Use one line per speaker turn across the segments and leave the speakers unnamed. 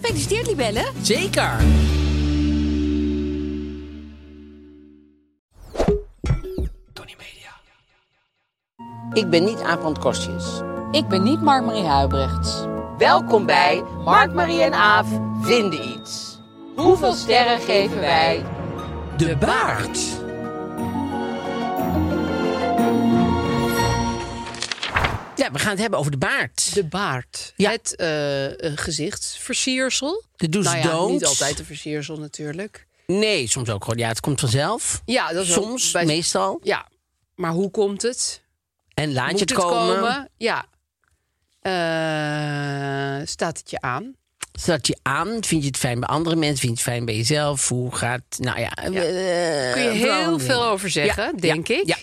Gefeliciteerd, Libelle.
Zeker! Ik ben niet Aaf Kostjes.
Ik ben niet Mark-Marie Huibrechts.
Welkom bij Mark, Marie en Aaf vinden iets. Hoeveel sterren geven wij? De baard. Ja, we gaan het hebben over de baard.
De baard.
Ja. Dus
Het eh, eh, gezichtsversiersel.
De do's
nou ja,
don'ts.
Niet altijd een versiersel natuurlijk.
Nee, soms ook gewoon. Ja, het komt vanzelf.
Ja, dat is ook
soms,
bij-
meestal.
Ja, maar hoe komt het?
En laat
Moet
je het komen,
Ja. Eh, staat het je aan?
Zodat je aan, vind je het fijn bij andere mensen, vind je het fijn bij jezelf. Hoe gaat, nou ja. eh,
Kun je heel
verandering.
veel over zeggen,
Ja,
denk
ja,
ik.
Ja.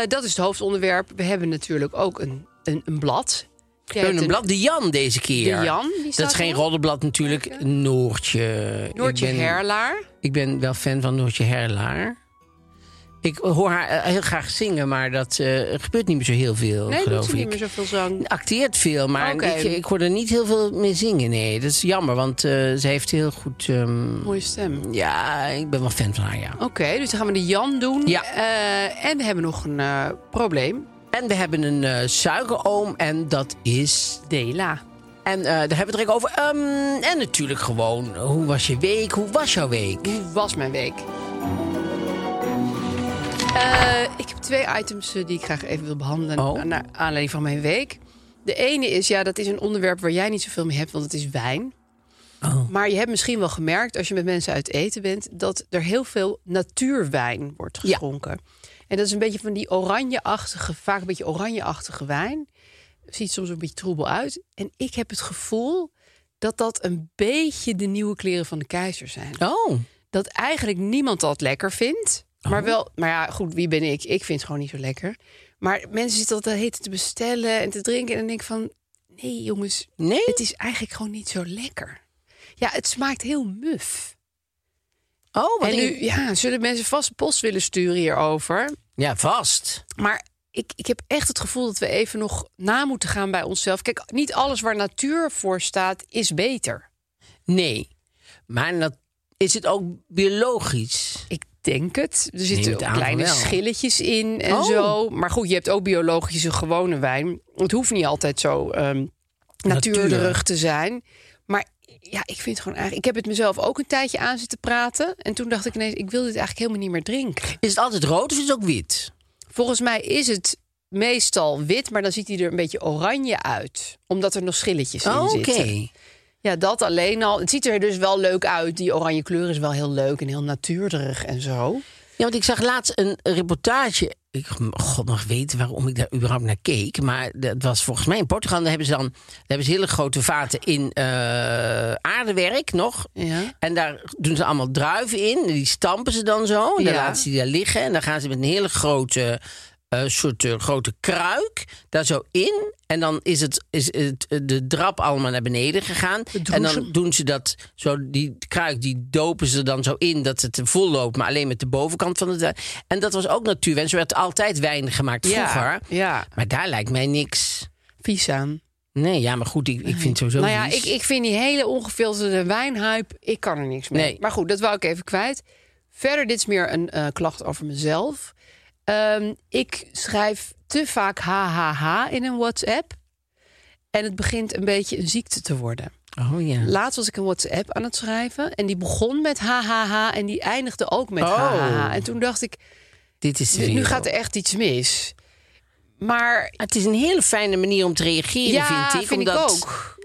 Eh, dat is het hoofdonderwerp. We hebben natuurlijk ook een, een, een blad. Jij hebt
Een blad, de Jan deze keer.
De Jan, die
dat
staat
is geen
er.
roddelblad natuurlijk. Noortje.
Noortje
ik ben,
Herlaar.
Ik ben wel fan van Noortje Herlaar. Ik hoor haar eh, heel graag zingen, maar dat eh, er gebeurt niet meer zo heel veel,
Nee, doet
geloof
ze
ik. Nou,
niet meer zoveel zang.
Acteert veel, maar
Oké.
ik, ik hoor er niet heel veel meer zingen. Nee, dat is jammer, want eh, ze heeft heel goed. ehm,
Mooie stem.
ja, ik ben wel fan van haar, ja.
Oké, dus dan gaan we de Jan doen.
Ja.
Eh, en we hebben nog een eh, probleem.
En we hebben een eh, suikeroom en dat is
Dela.
En eh, daar hebben we het direct over. Ehm, en natuurlijk gewoon, hoe was je week? Hoe was jouw week?
Hoe was mijn week? Eh, ik heb twee items eh, die ik graag even wil behandelen.
Oh.
Naar aanleiding van mijn week. De ene is, ja, dat is een onderwerp waar jij niet zoveel mee hebt, want het is wijn. Maar je hebt misschien wel gemerkt, als je met mensen uit eten bent, dat er heel veel natuurwijn wordt
Ja.
geschonken. En dat is een beetje van die oranjeachtige, vaak een beetje oranjeachtige wijn. Ziet soms een beetje troebel uit. En ik heb het gevoel dat dat een beetje de nieuwe kleren van de keizer zijn
Oh,
dat eigenlijk niemand dat lekker vindt. Maar wel, maar ja, goed, wie ben ik? Ik vind het gewoon niet zo lekker. Maar mensen zitten altijd heten te bestellen en te drinken. En dan denk ik van, nee jongens,
nee.
het is eigenlijk gewoon niet zo lekker. Ja, het smaakt heel muf.
Oh, wat
en
ik-
nu ja, zullen mensen vast een post willen sturen hierover.
Ja, vast.
Maar ik, ik heb echt het gevoel dat we even nog na moeten gaan bij onszelf. Kijk, niet alles waar natuur voor staat is beter.
Nee. Maar dat, is het ook biologisch?
Ik denk het. Er
Neem
zitten
het
ook
aan van
kleine
wel.
schilletjes in en
Oh.
zo. Maar goed, je hebt ook biologische gewone wijn. Het hoeft niet altijd zo ehm natuurderig te zijn. Maar ja, ik vind het gewoon eigenlijk... Ik heb het mezelf ook een tijdje aan zitten praten. En toen dacht ik ineens, ik wil dit eigenlijk helemaal niet meer drinken.
Is het altijd rood of is het ook wit?
Volgens mij is het meestal wit, maar dan ziet hij er een beetje oranje uit. Omdat er nog schilletjes in
Oh, Oké.
zitten. Ja, dat alleen al. Het ziet er dus wel leuk uit. Die oranje kleur is wel heel leuk en heel natuurderig en zo.
Ja, want ik zag laatst een reportage. Ik god nog weten waarom ik daar überhaupt naar keek. Maar dat was volgens mij in Portugal. Daar hebben ze dan daar hebben ze hele grote vaten in eh, aardewerk nog.
Ja.
En daar doen ze allemaal druiven in. En die stampen ze dan zo. En dan
Ja.
laten ze die daar liggen. En dan gaan ze met een hele grote eh, soort eh, grote kruik daar zo in. En dan is, het, is het, eh, de drap allemaal naar beneden gegaan. En dan doen ze dat, zo die kruik, die dopen ze dan zo in dat het vol loopt. Maar alleen met de bovenkant van het... En dat was ook natuurwijn. Zo werd altijd wijn gemaakt vroeger.
Ja,
Maar daar lijkt mij niks.
vies aan.
Nee, ja, maar goed, ik, ik vind het sowieso
Nou ja,
vies.
ik, ik vind die hele ongefilterde wijnhype, ik kan er niks mee.
Nee.
Maar goed, dat wou ik even kwijt. Verder, dit is meer een eh, klacht over mezelf. Ehm, ik schrijf te vaak HHH in een WhatsApp. En het begint een beetje een ziekte te worden.
Oh ja.
Laatst was ik een WhatsApp aan het schrijven. En die begon met hahaha. En die eindigde ook met
Oh.
hahaha. En toen dacht ik,
Dit is de
nu
wereld.
gaat er echt iets mis. Maar
Het is een hele fijne manier om te reageren,
ja,
vind ik.
vind ik
omdat
ook.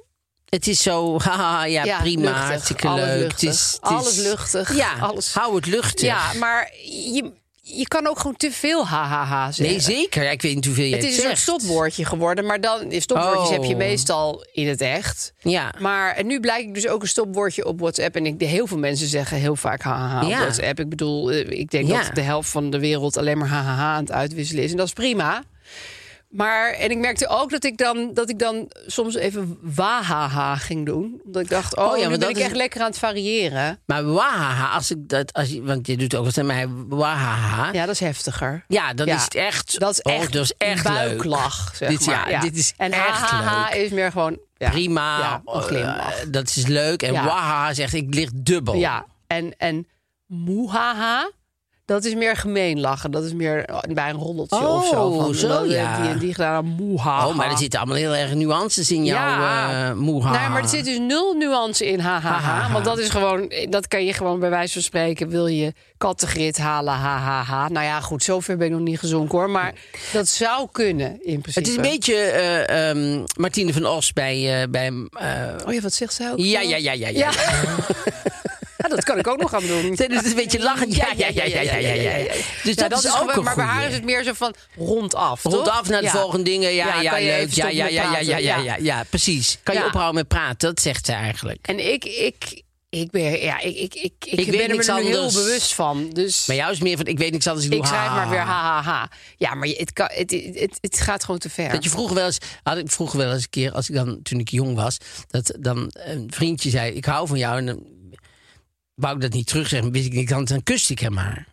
Het is zo, haha, ja,
Ja,
prima,
luchtig,
hartstikke
alles
leuk.
luchtig,
het is, het
alles
is-
luchtig,
Ja,
alles-
hou het luchtig.
Ja, maar je, je kan ook gewoon te veel hahaha zeggen.
nee, zeker. Ja, ik weet niet hoeveel je
Het
het
is een soort
zegt.
stopwoordje geworden, maar dan stopwoordjes heb je
Oh.
meestal in het echt.
Ja.
Maar en nu blijkt ik dus ook een stopwoordje op WhatsApp. En ik, heel veel mensen zeggen heel vaak haha op
Ja.
WhatsApp. Ik bedoel, eh, ik denk
Ja.
dat de helft van de wereld alleen maar haha aan het uitwisselen is. En dat is prima. Maar, en ik merkte ook dat ik dan, dat ik dan soms even wahaha ging doen. Omdat ik dacht, oh,
ja,
ja,
maar
nu ben
dat
ik
is-
echt lekker aan het variëren.
Maar wahaha, als ik dat, als je, want je doet ook altijd mij wahaha. Ja.
Ja, dat is heftiger.
dan
Ja,
is het echt.
Dat is
Ah. oh,
echt,
dat is echt leuk.
buiklach, zeg
dit,
maar.
Ja, dit is
en
echt
hahaha
leuk.
is meer gewoon... ja,
Prima.
Ja, een
eh,
glimlach.
dat is leuk. En
Ja.
wahaha zegt, ik lig dubbel.
Ja, en, en moehaha, dat is gemeen lachen. Dat is meer bij een roddeltje
Oh,
of zo. Van,
zo,
dat- eh,
ja.
Die, die gedaan aan moehaha.
Oh, maar er zitten allemaal heel erg nuances in jouw
Ja.
eh, moehaha.
Nee, maar er zit dus nul nuance in haha.
Hahaha.
Want dat is gewoon, dat kan je gewoon bij wijze van spreken. Wil je kattengrit halen, hahaha. Nou ja, goed, zover ben ik nog niet gezonken hoor. Maar dat zou kunnen in principe.
Het is een beetje eh, ehm, Martine van Os bij... eh, bij eh,
Oh ja, wat zegt ze ook?
ja, ja, ja, ja, ja.
Ja, dat kan ik ook nog aan doen.
Dus het is een beetje lachen. Ja, ja, ja, ja, ja, ja. ja, Dus
Ja,
dat, is, ook
gewoon-
een
Maar bij haar is
goeie.
het meer zo van rondaf, toch?
Rondaf naar de
Ja.
volgende dingen. Ja, ja,
kan je
leuk.
even
Ja,
stoppen
ja,
met
ja, ja,
praten?
ja, ja, ja, ja, precies. Kan je
Ja.
ophouden met praten? Dat zegt ze eigenlijk.
En ik, ik, ik ben, ja, ik, ik, ik, ik,
Ik weet
ben er me
niks
nu heel
anders.
bewust van. Dus
Maar jou is meer van, ik weet niks anders. Ik, doe
ik schrijf
ha,
maar weer
ha,
ha, ha, ha. Ja, maar je- het, kan, het, het, het, het gaat gewoon te ver.
Dat je vroeger wel eens, had ik vroeger wel eens een keer, als ik dan, toen ik jong was, dat dan een vriendje zei: Ik hou van jou. En dan wou ik dat niet terugzeggen, wist ik niet, dan, dan kuste ik hem maar.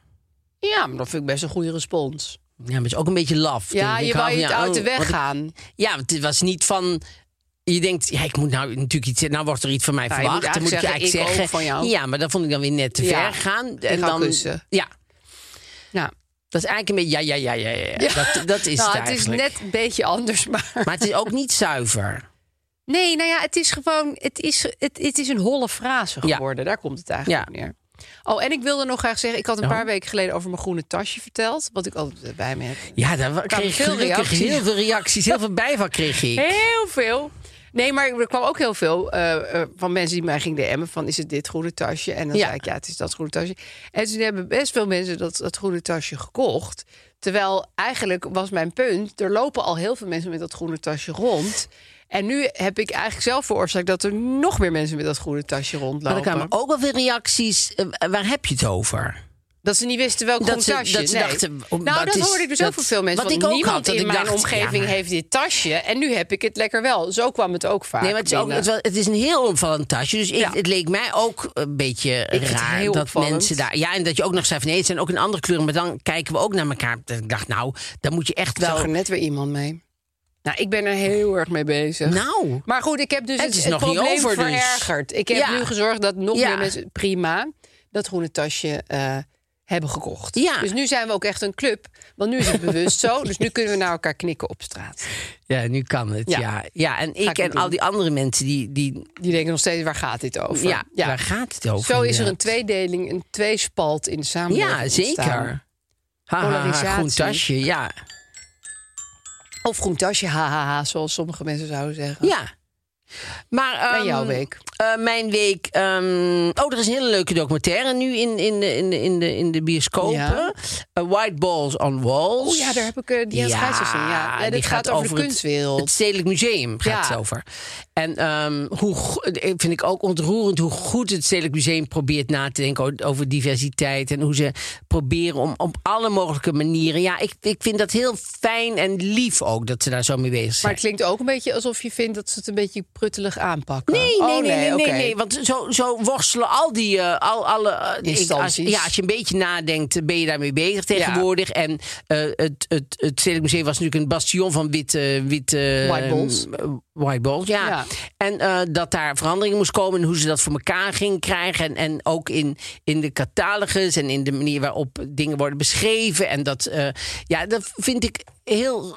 Ja, maar dat vind ik best een goede respons.
Ja, maar het is ook een beetje laf.
Ja,
Ik
je
hou
wou
van
je
jou.
uit de
Oh,
weg
want ik-
gaan.
Ja, want het was niet van. Je denkt, ja, ik moet nou natuurlijk iets. Nou wordt er iets van mij
Nou, je
verwacht.
moet
dan moet ik
eigenlijk
eigenlijk
zeggen,
zeggen.
ik ook van jou.
Ja, maar dat vond ik dan weer net te
Ja,
ver gaan.
ga
dan,
kussen.
Ja,
Ja.
dat is eigenlijk een beetje. Ja, ja, ja, ja. ja. Dat, dat is
nou,
het
het is
eigenlijk.
net een beetje anders, maar...
Maar het is ook niet zuiver.
Nee, nou ja, het is gewoon, het is, het, het is een holle frase
Ja.
geworden. Daar komt het eigenlijk
Ja. Nou.
op neer. Oh, en ik wilde nog graag zeggen, ik had een
Ja.
paar weken geleden over mijn groene tasje verteld, wat ik altijd bij me heb.
Ja, daar wa-
Kwamen
kreeg ik
veel
gelukkig
reacties.
heel veel reacties. Heel veel bijval kreeg ik.
Heel veel. Nee, maar er kwam ook heel veel eh, eh, van mensen die mij gingen DM'en van is het dit groene tasje? En dan
Ja.
zei ik ja, het is dat groene tasje. En toen hebben best veel mensen dat, dat groene tasje gekocht. Terwijl eigenlijk was mijn punt, er lopen al heel veel mensen met dat groene tasje rond. En nu heb ik eigenlijk zelf veroorzaakt dat er nog meer mensen met dat groene tasje
Maar er
rondlopen.
kwamen ook wel veel reacties. eh, waar heb je het over?
Dat ze niet wisten welk
Dat
groen
ze-
tasje.
dat ze
nee.
dachten, oh,
nou,
wat
dat
is-
hoorde ik dus ook
dat-
van veel mensen.
wat
want
ik ook
niemand
had, dat
in
ik
mijn
dacht,
omgeving
ja, maar-
heeft dit tasje. En nu heb ik het lekker wel. Zo kwam het ook vaak
Nee, maar het is, ook,
binnen.
het, was- het is een heel opvallend tasje. Dus ik,
Ja.
het leek mij ook een beetje
vind het
raar
heel
dat
opvallend.
mensen daar. Ja, en dat je ook nog zei van nee, het zijn ook een andere kleuren. Maar dan kijken we ook naar elkaar. Dat Ik dacht, nou, dan moet je echt
Ik zag
wel.
er net weer iemand mee. Nou, ik ben er heel erg mee bezig.
Nou,
Maar goed, ik heb dus
Het
het,
is
het
nog niet
probleem
over, dus.
verergerd. Ik heb
Ja.
nu gezorgd dat nog
Ja.
meer mensen... Prima, dat groene tasje eh, hebben gekocht.
Ja.
Dus nu zijn we ook echt een club. Want nu is het bewust zo. Dus nu kunnen we naar elkaar knikken op straat.
ja, nu kan het. Ja,
Ja.
ja. en ik,
ik
en
niet doen.
al die andere mensen die. die
Die denken nog steeds, waar gaat dit over?
ja, waar gaat het over?
Zo is er een
inderdaad?
tweedeling, een tweespalt in de samenleving
Ja,
ontstaan.
zeker. Haha,
Polarisatie.
groen tasje, ja.
Of groen tasje, hahaha, zoals sommige mensen zouden zeggen.
Ja. Maar,
En
ehm,
jouw week?
eh, mijn week. ehm, oh, er is een hele leuke documentaire nu in, in, de, in, de, in, de, in de bioscopen.
Ja.
Eh, White Balls on Walls.
Oh ja, daar heb ik eh, die aan het
Ja,
scheids gezien. Ja, ja
die
dit gaat, over, de
het-
kunstwereld.
Het Stedelijk Museum gaat
Ja.
het over. En ehm, hoe, go- eh, vind ik ook ontroerend hoe goed het Stedelijk Museum probeert na te denken o- over diversiteit. En hoe ze proberen om op alle mogelijke manieren. Ja, ik, ik vind dat heel fijn en lief ook dat ze daar zo mee bezig
Maar
zijn.
het klinkt ook een beetje alsof je vindt dat ze het een beetje pruttelig aanpakken.
Nee,
Oh,
nee, nee, nee, nee,
oké.
nee, Want zo, zo worstelen al die... eh, al, alle, eh, ik- als,
Instanties.
ja, als je een beetje nadenkt, eh, ben je daarmee bezig tegenwoordig. En eh, het, het, het Stedelijk Museum was natuurlijk een bastion van witte... witte
White balls.
eh, white balls, ja.
Ja.
En eh, dat daar veranderingen moest komen en hoe ze dat voor elkaar ging krijgen. En, en ook in, in de catalogus en in de manier waarop dingen worden beschreven. En dat, eh, ja, dat vind ik heel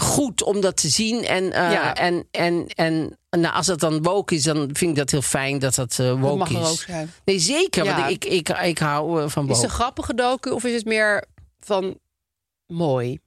goed om dat te zien. En, eh,
Ja.
en, en, en nou, als dat dan woke is, dan vind ik dat heel fijn dat dat eh woke
mag
is.
er ook zijn.
Nee, zeker.
Ja.
Want ik, ik, ik, ik hou eh, van
Is
woke.
het een grappige docu of is het meer van mooi?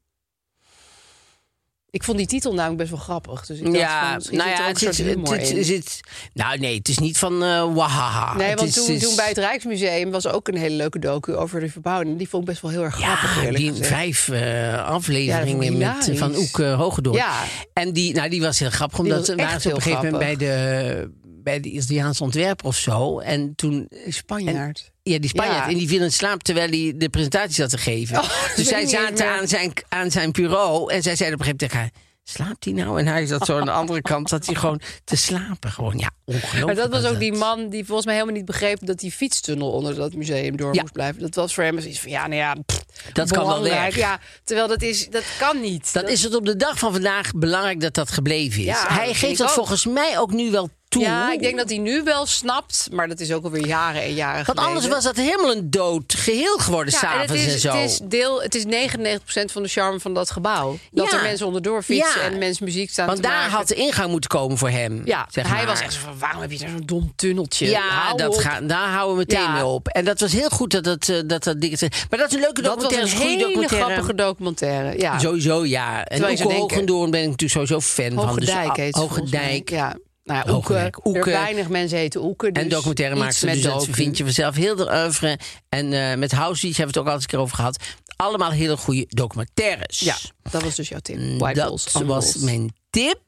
Ik vond die titel namelijk best wel grappig. Dus ik dacht van,
Ja,
misschien
nou
zit er
ja,
ook
het
een
zit,
soort
het,
humor
het-
in.
het zit- Nou nee, het is niet van eh wahaha.
Nee,
Het
want
is-
toen,
is-
toen bij het Rijksmuseum was ook een hele leuke docu over de verbouwing. Die vond ik best wel heel erg grappig.
Ja,
eerlijk
die
gezegd.
vijf eh, afleveringen
Ja, dat vond ik
met, eh, van
hilarisch.
Oeke Hogedoorn.
Ja.
En die, nou, die was heel grappig,
Die
omdat
was
we
echt
waren ze op een
heel
gegeven moment bij de, bij de Italiaanse ontwerper of zo. En toen,
Die Spanjaard.
ja, die Spanjaard,
Ja.
en die viel in slaap terwijl hij de presentatie zat te geven.
Oh, dat
dus
weet
zij
ik niet eens
zaten
meer.
aan zijn, aan zijn bureau en zij zeiden op een gegeven moment tegen haar... Slaapt hij nou? En hij zat zo aan de andere kant, zat hij gewoon te slapen. Gewoon, ja, ongelooflijk.
Maar dat was ook
dat-
die man die volgens mij helemaal niet begreep dat die fietstunnel onder dat museum door
Ja.
moest blijven. Dat was voor hem zoiets van ja, nou ja, pff,
Dat kan wel
belangrijk.
weg.
Ja, terwijl dat is, dat kan niet.
Dan is het op de dag van vandaag belangrijk dat dat gebleven is.
Ja, dat
hij
vind
geeft
ik
dat
ook.
volgens mij ook nu wel toe.
Ja, ik denk dat hij nu wel snapt, maar dat is ook alweer jaren en
Want
jaren geleden.
anders was dat helemaal een dood geheel geworden,
ja, en het
s'avonds
is,
en zo.
Het is, deel, het is 99% van de charme van dat gebouw. Dat
Ja.
er mensen onderdoor fietsen
Ja.
en mensen muziek staan
Want
te
daar
maken.
had de ingang moeten komen voor hem.
Ja,
zeg
hij
maar.
was echt zo van, waarom heb je daar zo'n dom tunneltje?
Ja,
Hou
dat
op.
gaan, daar houden we meteen
Ja.
mee op. En dat was heel goed dat dat, eh, dat, dat ding... Maar dat is een leuke
Dat was
documentaire.
een
is een goede
hele
documentaire. Ah,
grappige documentaire. Ja.
Sowieso, ja. En
Terwijl je
Oeke
zou denken-
Hogendoorn ben ik natuurlijk sowieso fan van. Dus,
Hoogedijk heet ze volgens mij.
Hoogedijk.
Ja. Nou ja, Oeke.
Hoogedijk, Oeke.
Er weinig mensen heten Oeke. Dus
En documentaire
iets
maakt ze,
met
dus dat
docu.
vind je vanzelf heel de oeuvre. En eh met House Beach hebben we het ook al eens een keer over gehad. Allemaal hele goede documentaires.
Ja, dat was dus jouw tip.
Mm,
White
dat
Walls,
was
Amber Walls.
mijn tip.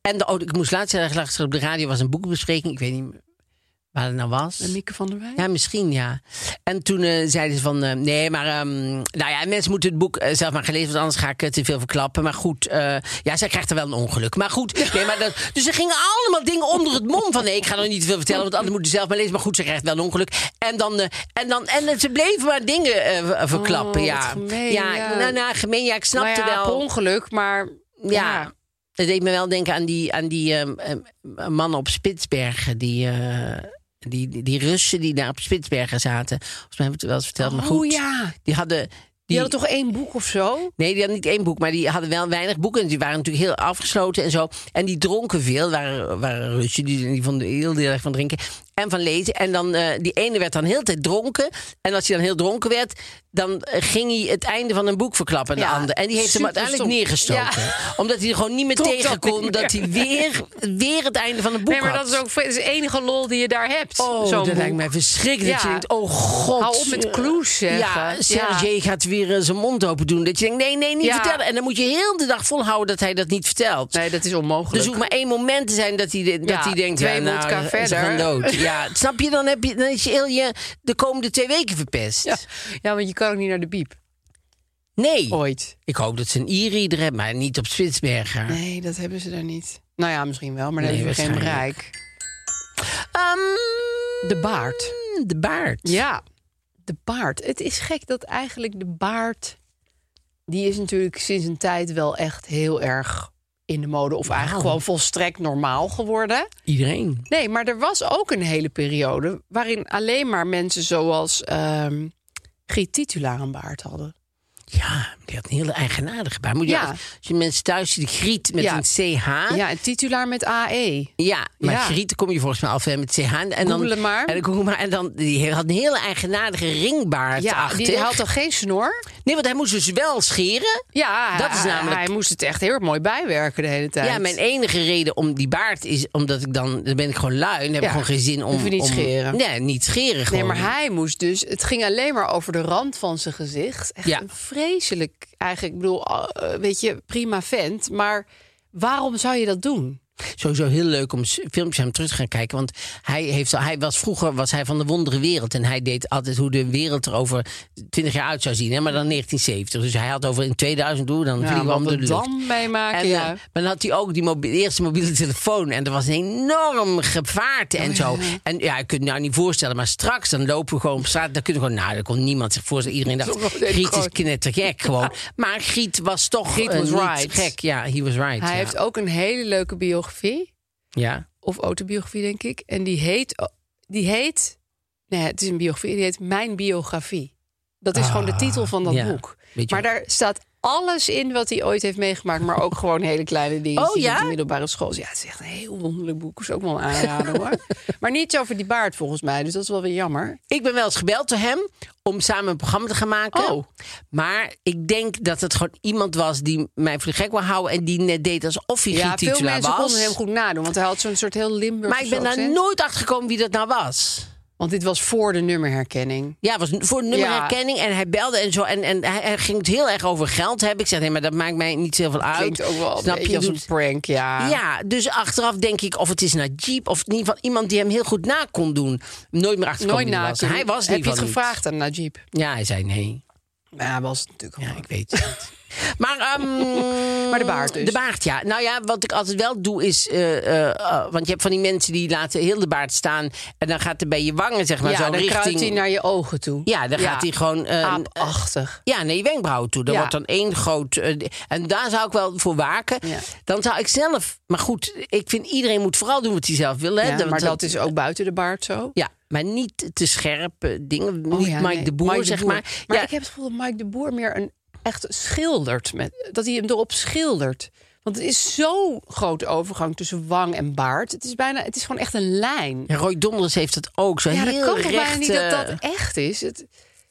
En de, oh, ik moest laatst zeggen, luisteren op de radio was een boekenbespreking. Ik weet niet meer waar het nou was.
En Mieke van der Wij?
Ja, misschien ja. En toen eh, zeiden ze van, eh, nee, maar ehm, nou ja, mensen moeten het boek eh, zelf maar gelezen, want anders ga ik het te veel verklappen. Maar goed, eh, ja, zij krijgt er wel een ongeluk. Maar goed, nee, maar dat, dus er gingen allemaal dingen onder het mom van, nee, ik ga nog niet te veel vertellen, want anderen moeten zelf maar lezen. Maar goed, ze krijgt wel een ongeluk. En dan, eh, en dan, en eh, ze bleven maar dingen eh, verklappen,
Oh,
ja.
wat gemeen,
ja.
ja.
Nou, nou, gemeen, ja, ik
Nou
snapte
ja,
wel.
per ongeluk, maar...
Ja. Dat deed me wel denken aan die, aan die ehm, ehm, mannen op Spitsbergen. Die, eh, die, die, die Russen die daar op Spitsbergen zaten. Volgens mij hebben we het wel eens verteld. maar
Oh
goed,
ja. Die,
die hadden. Die,
hadden toch één boek of zo?
Nee, die hadden niet één boek, maar die hadden wel weinig boeken. En die waren natuurlijk heel afgesloten en zo. En die dronken veel, waren, waren Russen, die, die vonden heel heel erg van drinken en van lezen. En dan, eh, die ene werd dan heel de tijd dronken. En als hij dan heel dronken werd, dan eh, ging hij het einde van een boek verklappen aan
Ja,
de ander. En die heeft hem
super
uiteindelijk
stom.
neergestoten.
Ja.
Omdat hij er gewoon niet meer
Tot dat
tegen
niet
kon
meer.
dat hij weer, weer het einde van een boek
nee, maar
had.
dat is ook dat is de enige lol die je daar hebt.
Oh,
zo'n
dat
boek.
lijkt mij verschrikkelijk. Dat
Ja.
je denkt, oh god.
Hou op met clues zeggen.
Ja, Sergej gaat weer eh, zijn mond open doen. Dat je denkt, nee, nee, niet
Ja.
vertellen. En dan moet je heel de dag volhouden dat hij dat niet vertelt.
Nee, dat is
Dus
onmogelijk.
er hoeft maar één moment te zijn dat hij, de- dat
Ja,
hij denkt...
twee
ja, nou,
wodka
ze
verder.
gaan dood. Ja, snap je? Dan, heb je, dan is je heel je de komende twee weken verpest.
ja. ja, want je kan ook niet naar de biep.
Nee.
Ooit.
Ik hoop dat ze een e-reader hebben, maar niet op Spitsbergen.
Nee, dat hebben ze daar niet. Nou ja, misschien wel, maar dan
Nee,
hebben ze geen
waarschijnlijk.
bereik.
Ehm,
De baard.
de baard.
Ja, de baard. Het is gek dat eigenlijk de baard... die is natuurlijk sinds een tijd wel echt heel erg in de mode... of eigenlijk gewoon volstrekt normaal geworden.
Iedereen.
Nee, maar er was ook een hele periode... waarin alleen maar mensen zoals ehm Giet Titulaar een baard hadden.
Ja, die had een hele eigenaardige baard. Moet je
Ja.
als, als je mensen thuis ziet, Griet met
Ja.
een CH. Ja,
Ja, en Titulaar met E. AE.
maar
Ja.
Griet kom je volgens mij af hè, met CH. En
Google
dan,
het maar.
En, dan google maar. en dan, die had een hele eigenaardige ringbaard
Ja,
achter.
die had toch geen snor?
Nee, want hij moest dus wel scheren.
Ja,
Dat is
hij-
namelijk-
hij moest het echt heel erg mooi bijwerken de hele tijd.
Ja, mijn enige reden om die baard is omdat ik dan, dan ben ik gewoon lui en heb
Ja.
ik gewoon geen zin om.
Hoef je niet
om-
scheren.
Nee, niet scheren gewoon.
Nee, maar hij moest dus. Het ging alleen maar over de rand van zijn gezicht. Echt
Ja.
een vreselijk. Eigenlijk, ik bedoel, eh, weet je, prima vent. Maar waarom zou je dat doen?
Sowieso heel leuk om s- filmpjes aan hem terug te gaan kijken. Want hij, heeft, al- hij was vroeger was hij van de wondere wereld. En hij deed altijd hoe de wereld er over 20 jaar uit zou zien. Hè? Maar
Mm.
dan 1970. Dus hij had over in 2000 hoe dan vliegen we
wat
om de
we
lucht.
dan meemaken.
En,
ja.
eh, maar dan had hij ook die mobi- eerste mobiele telefoon. En er was een enorm gevaarte
Oh,
en zo. En ja, je kunt het nou niet voorstellen. Maar straks, dan lopen we gewoon op straat. Dan kunnen we gewoon, nou, dan kon niemand zich voorstellen. Iedereen
Sommige
dacht,
deden
Griet is
gewoon-
knettergek gewoon. Maar Griet was toch
Griet
eh,
was
niet
right.
gek. Ja, he was right.
hij
ja.
heeft ook een hele leuke biografie.
ja.
Of autobiografie, denk ik. En die heet. Die heet nee, het is een biografie. Die heet Mijn Biografie. Dat is gewoon de titel van dat
Ah, ja.
boek.
Beetje-
Maar daar staat alles in wat hij ooit heeft meegemaakt. Maar ook gewoon hele kleine dingen
Oh, ja?
op de middelbare school. Ja, het is echt een heel wonderlijk boek. Is ook wel aanraden hoor. Maar niet over die baard volgens mij. Dus dat is wel weer jammer.
Ik ben wel eens gebeld door hem om samen een programma te gaan maken.
Oh.
Maar ik denk dat het gewoon iemand was die mij voor de gek wil houden... en die net deed alsof hij
Ja,
geen
veel
titulaar
mensen
was.
konden hem goed nadoen. Want hij had zo'n soort heel Limburg.
maar ik ben daar nooit achter gekomen wie dat nou was.
Want dit was voor de nummerherkenning.
Ja, het was voor nummerherkenning en hij belde en zo. En, en hij, hij ging het heel erg over geld hebben. Ik zeg, nee, maar dat maakt mij niet zoveel uit.
Klinkt ook wel een
Oh, Snap
beetje
je?
als
Doet-
een prank, ja.
Ja, dus achteraf denk ik of het is naar Jeep... of in ieder geval iemand die hem heel goed na kon doen. Nooit meer achterkomen
Nooit
wie
na.
het was. Hij was in
Heb je
ieder
het
geval niet.
gevraagd aan Najib?
Ja, hij zei nee.
Ja, was het natuurlijk
Ja, ik weet het niet. Maar, ehm,
Maar de baard dus.
De baard, ja. Nou ja, wat ik altijd wel doe is... eh, eh, eh, want je hebt van die mensen die laten heel de baard staan... en dan gaat er bij je wangen, zeg maar,
ja,
zo
dan
richting...
kruipt hij naar je ogen toe.
Ja, dan gaat hij gewoon... eh,
Aapachtig.
ja, nee, je wenkbrauwen toe. Dan
Ja.
wordt dan één groot... eh, en daar zou ik wel voor waken.
Ja.
Dan zou ik zelf... Maar goed, ik vind iedereen moet vooral doen wat hij zelf wil. Hè?
Ja, maar dat is ook buiten de baard zo.
Ja, maar niet te scherpe dingen.
Oh
niet
ja,
Mike
nee.
de Boer,
Mike
zeg
Boer.
maar.
Maar
ja,
ik heb het gevoel dat Mike de Boer meer een echt schildert. Met, dat hij hem erop schildert. Want het is zo'n grote overgang tussen wang en baard. Het is, bijna, het is gewoon echt een lijn.
ja, Roy Donders heeft dat ook. Zo
Ja, dat
heel
kan toch bijna
recht,
niet dat
eh,
dat echt is? Het,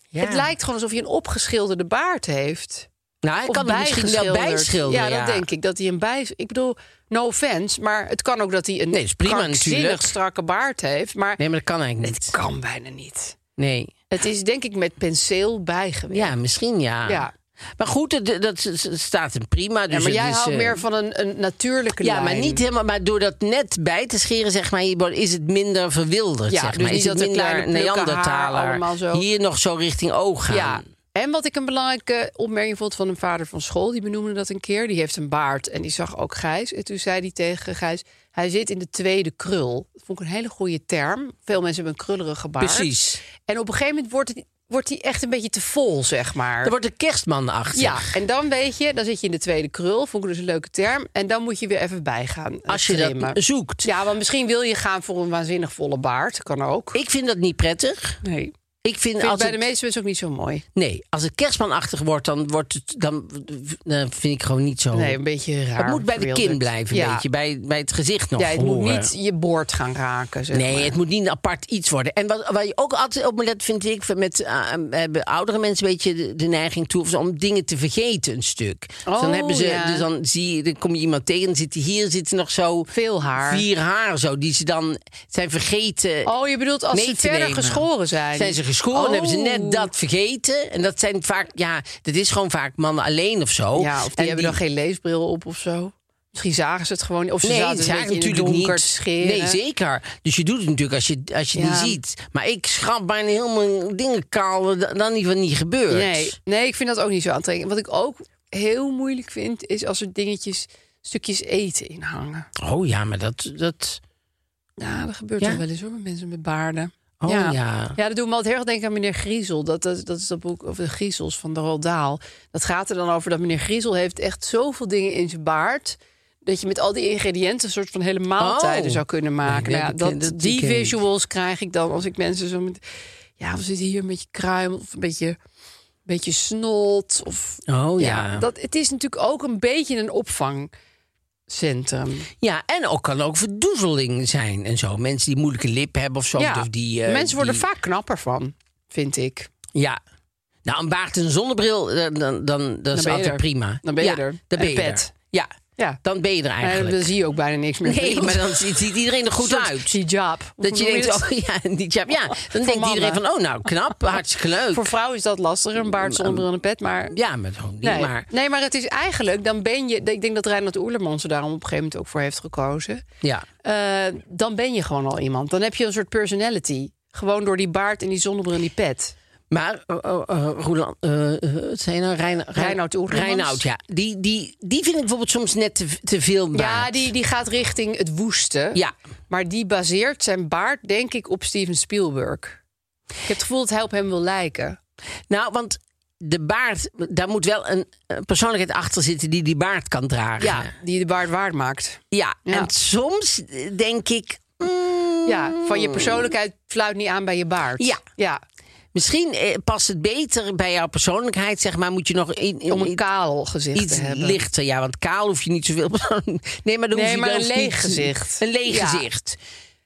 ja.
het lijkt gewoon alsof je een opgeschilderde baard heeft.
Nou, hij
Of
kan er misschien wel
bijgeschilderd.
bijschilderen.
Ja, dat denk ik. Dat hij een bij... Ik bedoel, no offense, maar het kan ook dat hij een
Nee, is prima
krankzinnig
natuurlijk.
strakke baard heeft. Maar
Nee, maar dat kan eigenlijk
het
niet.
kan bijna niet.
Nee.
Het is denk ik met penseel bijgewerkt.
Ja, misschien ja.
Ja.
Maar goed, dat, dat staat hem prima. Dus
Ja, maar
het
jij
is,
houdt
eh,
meer van een, een natuurlijke
Ja,
lijn.
maar niet helemaal. Maar door dat net bij te scheren, zeg maar, hier is het minder verwilderd.
Ja,
zeg
dus
maar.
niet
is het
dat de
minder
kleine plukken haar allemaal zo-
Hier nog zo richting oog gaan.
Ja. En wat ik een belangrijke opmerking vond van een vader van school, die benoemde dat een keer. Die heeft een baard en die zag ook Gijs. En toen zei hij tegen Gijs: Hij zit in de tweede krul. Dat vond ik een hele goede term. Veel mensen hebben een krullerige baard.
Precies.
En op een gegeven moment wordt, het, wordt die echt een beetje te vol, zeg maar.
Er wordt een kerstman achter.
Ja, en dan weet je, dan zit je in de tweede krul. Vond ik dus een leuke term. En dan moet je weer even bijgaan. eh,
Als je
trimmen.
dat dus- zoekt.
Ja, want misschien wil je gaan voor een waanzinnig volle baard. Kan ook.
Ik vind dat niet prettig.
nee. Vind
Ik vind,
ik
als
bij
het-
de meeste mensen ook niet zo mooi.
Nee, als het kerstmanachtig wordt, dan, wordt het, dan eh, vind ik gewoon niet zo...
Nee, een beetje raar.
Het moet bij de kin
verwilderd.
blijven, een
Ja.
beetje. Bij, bij het gezicht nog.
Ja, het moet
horen.
niet je boord gaan raken. Zeg
Nee,
maar.
het moet niet een apart iets worden. En wat, waar je ook altijd op moet letten, vind ik... met eh, hebben oudere mensen een beetje de, de neiging toe... of zo, om dingen te vergeten, een stuk. dus dan,
Oh,
hebben ze,
ja.
dus dan, zie je, dan kom je iemand tegen, dan zit die hier zit er nog zo...
Veel haar.
Vier haar zo, die ze dan zijn vergeten...
Oh, je bedoelt als
mee
ze
te
verder
nemen.
geschoren zijn.
Zijn ze geschoren,
Oh.
hebben ze net dat vergeten. En dat zijn vaak, ja, dat is gewoon vaak mannen alleen of zo.
Ja, of die
En
hebben dan geen leesbril op of zo. Misschien zagen ze het gewoon. niet. Of ze
Nee,
zaten
het
een
zagen
beetje in het
natuurlijk
donker
niet.
te scheren.
Nee, zeker. Dus je doet het natuurlijk als je, als je het
Ja.
niet ziet. Maar ik schrap bijna helemaal dingen kaal. eh, Dan niet wat niet gebeurt.
Nee, nee, ik vind dat ook niet zo aantrekkelijk. Wat ik ook heel moeilijk vind, is als er dingetjes, stukjes eten in hangen.
Oh ja, maar dat... dat
Ja, dat gebeurt
Ja?
toch wel eens hoor, met mensen met baarden.
oh ja. ja.
Ja, dat doen we altijd heel erg denken aan meneer Griezel. Dat, dat, dat is dat boek over de Griezels van de Roald Dahl. Dat gaat er dan over dat meneer Griezel heeft echt zoveel dingen in zijn baard... dat je met al die ingrediënten een soort van hele maaltijden
Oh.
zou kunnen maken.
Nee,
Nou ja,
dat ken-
dat,
dat
die
ken ik.
visuals krijg ik dan als ik mensen zo met... Ja, we zitten hier een beetje kruim of een beetje, beetje snot. Of,
Oh ja.
ja, dat, het is natuurlijk ook een beetje een opvangcentrum.
Ja, en ook kan ook verdoezeling zijn en zo. Mensen die moeilijke lip hebben of zo.
ja,
Of die, eh,
mensen worden
die-
vaak knapper van, vind ik.
Ja. Nou, een baard en een zonnebril, eh, dan, dan, dan,
ben
is
je
altijd
er.
prima.
Dan ben je
Ja,
er.
Dan
En
ben je
pet.
er. Ja,
Ja.
dan ben je er
Maar
eigenlijk.
Eh, dan zie je ook bijna niks meer.
Nee, maar dan ziet, ziet iedereen er goed uit.
Die job.
Dat je denkt, oh ja, die jab, ja. Dan denkt iedereen van,
mannen.
oh nou, knap, hartstikke leuk.
Voor vrouwen is dat lastiger, een baard zonder een pet, maar...
Ja, met zo'n ding,
Nee.
maar...
nee, Mm, maar het is eigenlijk, dan ben je... Ik denk dat Reinhard Oerlemans er daarom op een gegeven moment ook voor heeft gekozen.
Ja.
Eh, dan ben je gewoon al iemand. Dan heb je een soort personality. Gewoon door die baard en die zonnebril en die pet.
Maar, eh, eh, eh, Roeland, eh, eh, wat zei je nou? Rein, Rein-
Reinoud Oerlemans?
Reinoud, ja. Die, die, die vind ik bijvoorbeeld soms net te, te veel baard.
Ja, die, die gaat richting het woeste.
Ja.
Maar die baseert zijn baard, denk ik, op Steven Spielberg. Ik heb het gevoel dat hij op hem wil lijken.
Nou, want de baard, daar moet wel een eh, persoonlijkheid achter zitten die die baard kan dragen.
Ja, die de baard waard maakt.
Ja,
Ja.
en soms eh, denk ik... mm,
Ja, van je persoonlijkheid fluit niet aan bij je baard.
Ja.
ja.
Misschien eh, past het beter bij jouw persoonlijkheid, zeg maar. Moet je nog in, in-
Om een
iets-
kaal gezicht
iets
te hebben.
lichter. Ja, want kaal hoef je niet zoveel. nee, maar, dan
Nee,
hoef je
maar
dan
een
niet-
leeg gezicht.
Een leeg
Ja.
gezicht.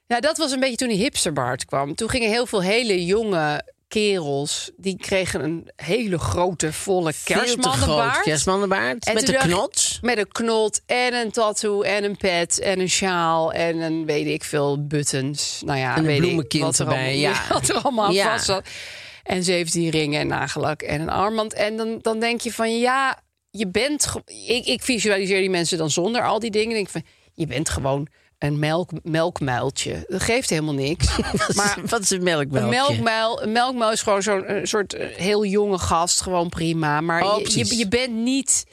Ja, dat was een beetje toen die hipsterbaard kwam. Toen gingen heel veel hele jonge kerels... die kregen een hele grote, volle kerstmannenbaard.
Kerstmannenbaard.
En
Met
toen
de
dacht-
knots.
Met een knot en een tattoo en een pet en een sjaal... en een, weet ik veel, buttons. Nou ja,
En een
weet
bloemenkind
ik, wat er
erbij,
allemaal,
ja.
Wat er allemaal aan
Ja.
vast zat. En 17 ringen en nagelak en een armband. En dan, dan denk je van, ja, je bent... ge- Ik, ik visualiseer die mensen dan zonder al die dingen. denk ik van, je bent gewoon een melk, melkmuiltje. Dat geeft helemaal niks. maar
Wat is een
een
melkmelkje?
melkmuil, een melkmuil is gewoon zo'n eh, soort eh, heel jonge gast, gewoon prima. Maar
Oh,
je,
precies.
je, je bent niet...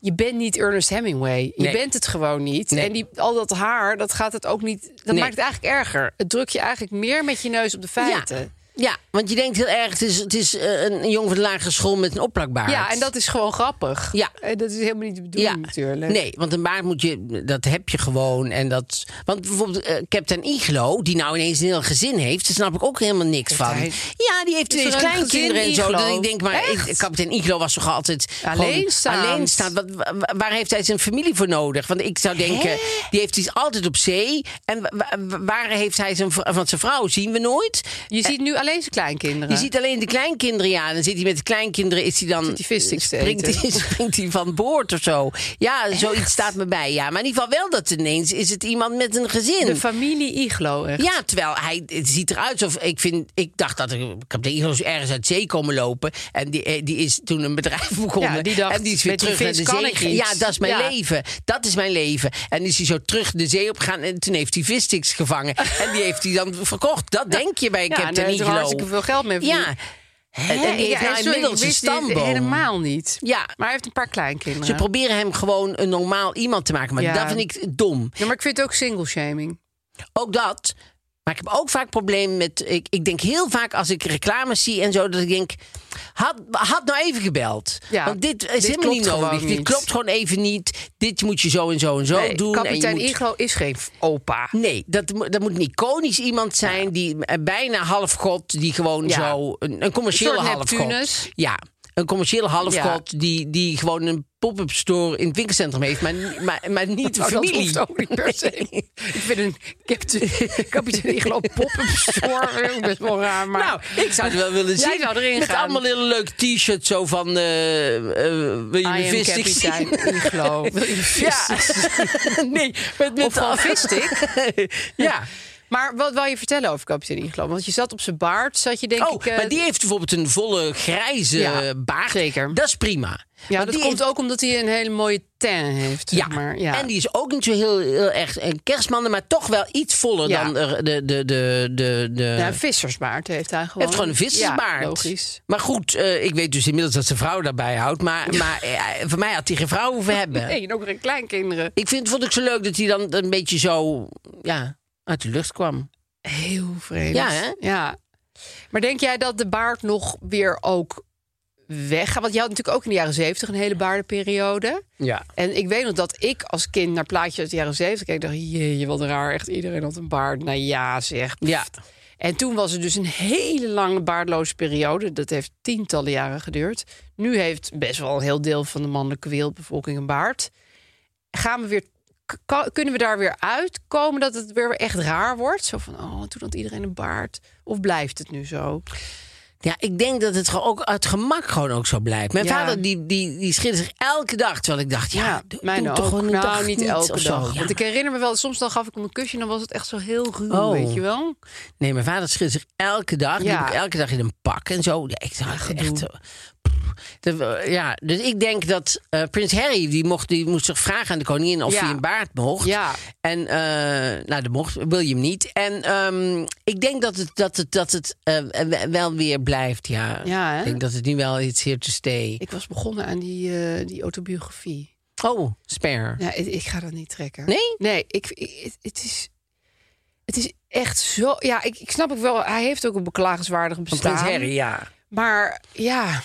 Je bent niet Ernest Hemingway. Je
Nee.
bent het gewoon niet.
Nee.
En die, al dat haar, dat gaat het ook niet. Dat
Nee.
maakt het eigenlijk erger. Het drukt je eigenlijk meer met je neus op de feiten.
Ja. ja, want je denkt heel erg, het is, het is eh, een, een jongen van de lagere school met een opplakbaard.
Ja, en dat is gewoon grappig.
Ja.
Eh, Dat is helemaal niet de bedoeling
Ja,
natuurlijk.
Nee, want een baard moet je, dat heb je gewoon. En dat, want bijvoorbeeld eh, Captain Iglo, die nou ineens een heel gezin heeft, daar snap ik ook helemaal niks van.
hij-
Ja, die heeft
Is er
ineens
een
kleinkinderen
gezin
en zo.
Iglo?
Dat ik denk, maar ik,
Echt?
Captain Iglo was toch altijd gewoon
Alleenstaand.
alleenstaand. Wat, wa- wa- waar heeft hij zijn familie voor nodig? Want ik zou denken, die heeft iets altijd op zee. En wa- wa- waar heeft hij zijn, vr- want zijn vrouw zien we nooit.
Je ziet nu alleen zijn kleinkinderen.
Eh, Je ziet alleen de kleinkinderen, ja. Dan zit hij met de kleinkinderen, is hij dan...
Zit hij vissticks te
springt,
eten.
hij, springt hij van boord of zo. Ja, zoiets staat me bij, ja. Maar in ieder geval wel dat ineens is het iemand met een gezin.
de familie Iglo. Echt.
ja, terwijl hij het ziet eruit alsof ik vind. Ik dacht dat er kapitein Iglo's ergens uit zee komen lopen. En die, eh, die is toen een bedrijf begonnen.
Ja, die dacht,
en die is weer
met die
terug naar
vis
de
kan
zee.
ik
gegaan.
iets.
Ja, dat is mijn
Ja.
leven. Dat is mijn leven. En is hij zo terug de zee opgegaan. En toen heeft hij vissticks gevangen. en die heeft hij dan verkocht. Dat denk je bij een
Ja, en daar
kapitein
heeft er
Iglo.
hartstikke veel geld mee verdiend.
Ja. En, en die heeft nou inmiddels een stamboom.
Helemaal niet.
Ja.
Maar hij heeft een paar kleinkinderen.
Ze proberen hem gewoon een normaal iemand te maken. Maar
Ja.
dat vind ik dom.
Ja, maar ik vind het ook single shaming.
Ook dat. Maar ik heb ook vaak problemen met... Ik, ik denk heel vaak als ik reclames zie en zo... dat ik denk, had, had nou even gebeld.
Ja,
Want dit is
dit
helemaal niet
klopt gewoon
nodig. Dit
niet.
klopt gewoon even niet. Dit moet je zo en zo en zo
Nee,
doen.
kapitein
en je moet-
Iglo is geen f- opa.
Nee, dat, mo- dat moet een iconisch iemand zijn... die eh, bijna halfgod, die gewoon
Ja.
zo... Een, een commerciële
Een soort
halfgod.
Neptunus.
Ja, een commerciële halfgod... Die, die gewoon een pop-up store in het winkelcentrum heeft... maar, ni- maar, maar niet de
Oh, dat
familie.
hoeft ook niet per se. ik vind een kapitein, kapitein Iglo pop-up store ook best wel raar. Maar
nou, ik zou het wel willen zien.
Jij zou erin
Met
gaan.
allemaal hele leuke t-shirts zo van... eh, eh, wil je
I
een
am
visstick zien?
kapitein Iglo. Wil je
Ja,
visstick?
nee. Met, met
Of gewoon visstick?
ja.
Maar wat wil je vertellen over kapitein Iglo? Want je zat op zijn baard, zat je denk
Oh,
ik... eh,
maar die heeft bijvoorbeeld een volle grijze
Ja,
baard.
zeker.
Dat is prima.
ja,
Want
dat
die
komt
heeft-
ook omdat hij een hele mooie ten heeft.
Ja.
zeg Maar, ja.
en die is ook niet zo heel, heel erg een kerstman, maar toch wel iets voller
Ja.
dan er- de... de, de, de, de
Ja, een vissersbaard heeft hij gewoon.
Eh, heeft gewoon een vissersbaard.
Ja, logisch.
Maar goed, eh, ik weet dus inmiddels dat zijn vrouw daarbij houdt. Maar, maar eh, voor mij had hij geen vrouw hoeven hebben.
Nee, en ook geen kleinkinderen.
Ik vind, vond ik zo leuk dat hij dan een beetje zo ja, uit de lucht kwam.
Heel vreemd.
Ja, hè?
Ja. Maar denk jij dat de baard nog weer ook weggaat? Want je had natuurlijk ook in de jaren zeventig een hele baardenperiode.
Ja.
En ik weet nog dat ik als kind naar plaatjes uit de jaren zeventig keek. dacht, jeetje, wat raar. Echt iedereen had een baard. Nou ja, zeg. Pff.
Ja.
En toen was het dus een hele lange baardloze periode. Dat heeft tientallen jaren geduurd. Nu heeft best wel een heel deel van de mannelijke wereldbevolking een baard. Gaan we weer, k- ka- kunnen we daar weer uitkomen dat het weer echt raar wordt? Zo van, oh, toen had iedereen een baard. Of blijft het nu zo?
ja, ik denk dat het gewoon ook uit gemak gewoon ook zo blijft. Mijn
Ja.
vader die, die, die schildert zich elke dag. Terwijl ik dacht, ja, doe,
mijn
doe
ook.
toch een
nou,
dag
niet elke
of zo.
dag.
Ja.
Want ik herinner me wel, soms dan gaf ik hem een kusje... en dan was het echt zo heel ruw,
Oh.
weet je wel?
Nee, mijn vader schildert zich elke dag.
Ja.
Ja. ik elke dag in een pak en zo. Ja, ik dacht echt... zo, pff. Dat- Ja, dus ik denk dat eh, prins Harry, die, mocht, die moest zich vragen aan de koningin of
Ja.
hij een baard mocht.
Ja.
En eh, nou, dat mocht William niet. En ehm, ik denk dat het, dat het, dat het eh, we- wel weer blijft, ja.
Ja, hè?
Ik Eh, denk dat het nu wel iets here to stay.
Ik was begonnen aan die, eh, die autobiografie.
Oh, spare.
Ja, ik, ik ga dat niet trekken.
Nee?
Nee, ik, ik- het- het is... Het is echt zo... Ja, ik, ik snap ook wel... Hij heeft ook een beklagenswaardig
Van
bestaan.
prins Harry, ja.
Maar ja...